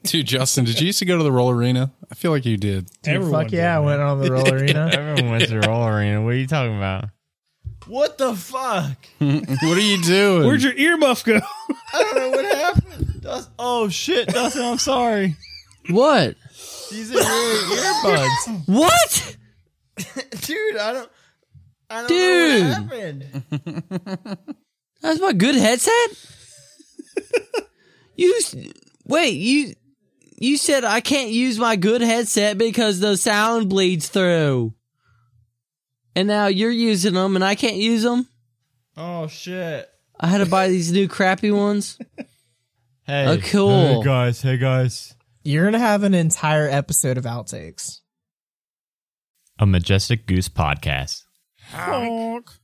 S7: Dude, Justin, did you used to go to the roll arena? I feel like you did.
S2: Dude,
S4: Everyone
S2: fuck yeah, I
S4: did,
S2: went on the roll arena.
S8: Everyone went to roll arena. What are you talking about? What the fuck?
S7: What are you doing?
S4: Where'd your earmuff go?
S8: I don't know what happened. Dust- oh shit, Dustin, I'm sorry.
S3: What?
S8: These are your earbuds,
S3: What?
S8: dude. I don't. I don't
S3: Dude.
S8: happened.
S3: That's my good headset. you s- wait. You you said I can't use my good headset because the sound bleeds through. And now you're using them, and I can't use them.
S8: Oh shit.
S3: I had to buy these new crappy ones.
S8: Hey.
S3: Oh, cool.
S8: Hey guys. Hey guys.
S2: You're gonna have an entire episode of outtakes.
S8: A majestic goose podcast.
S4: Honk.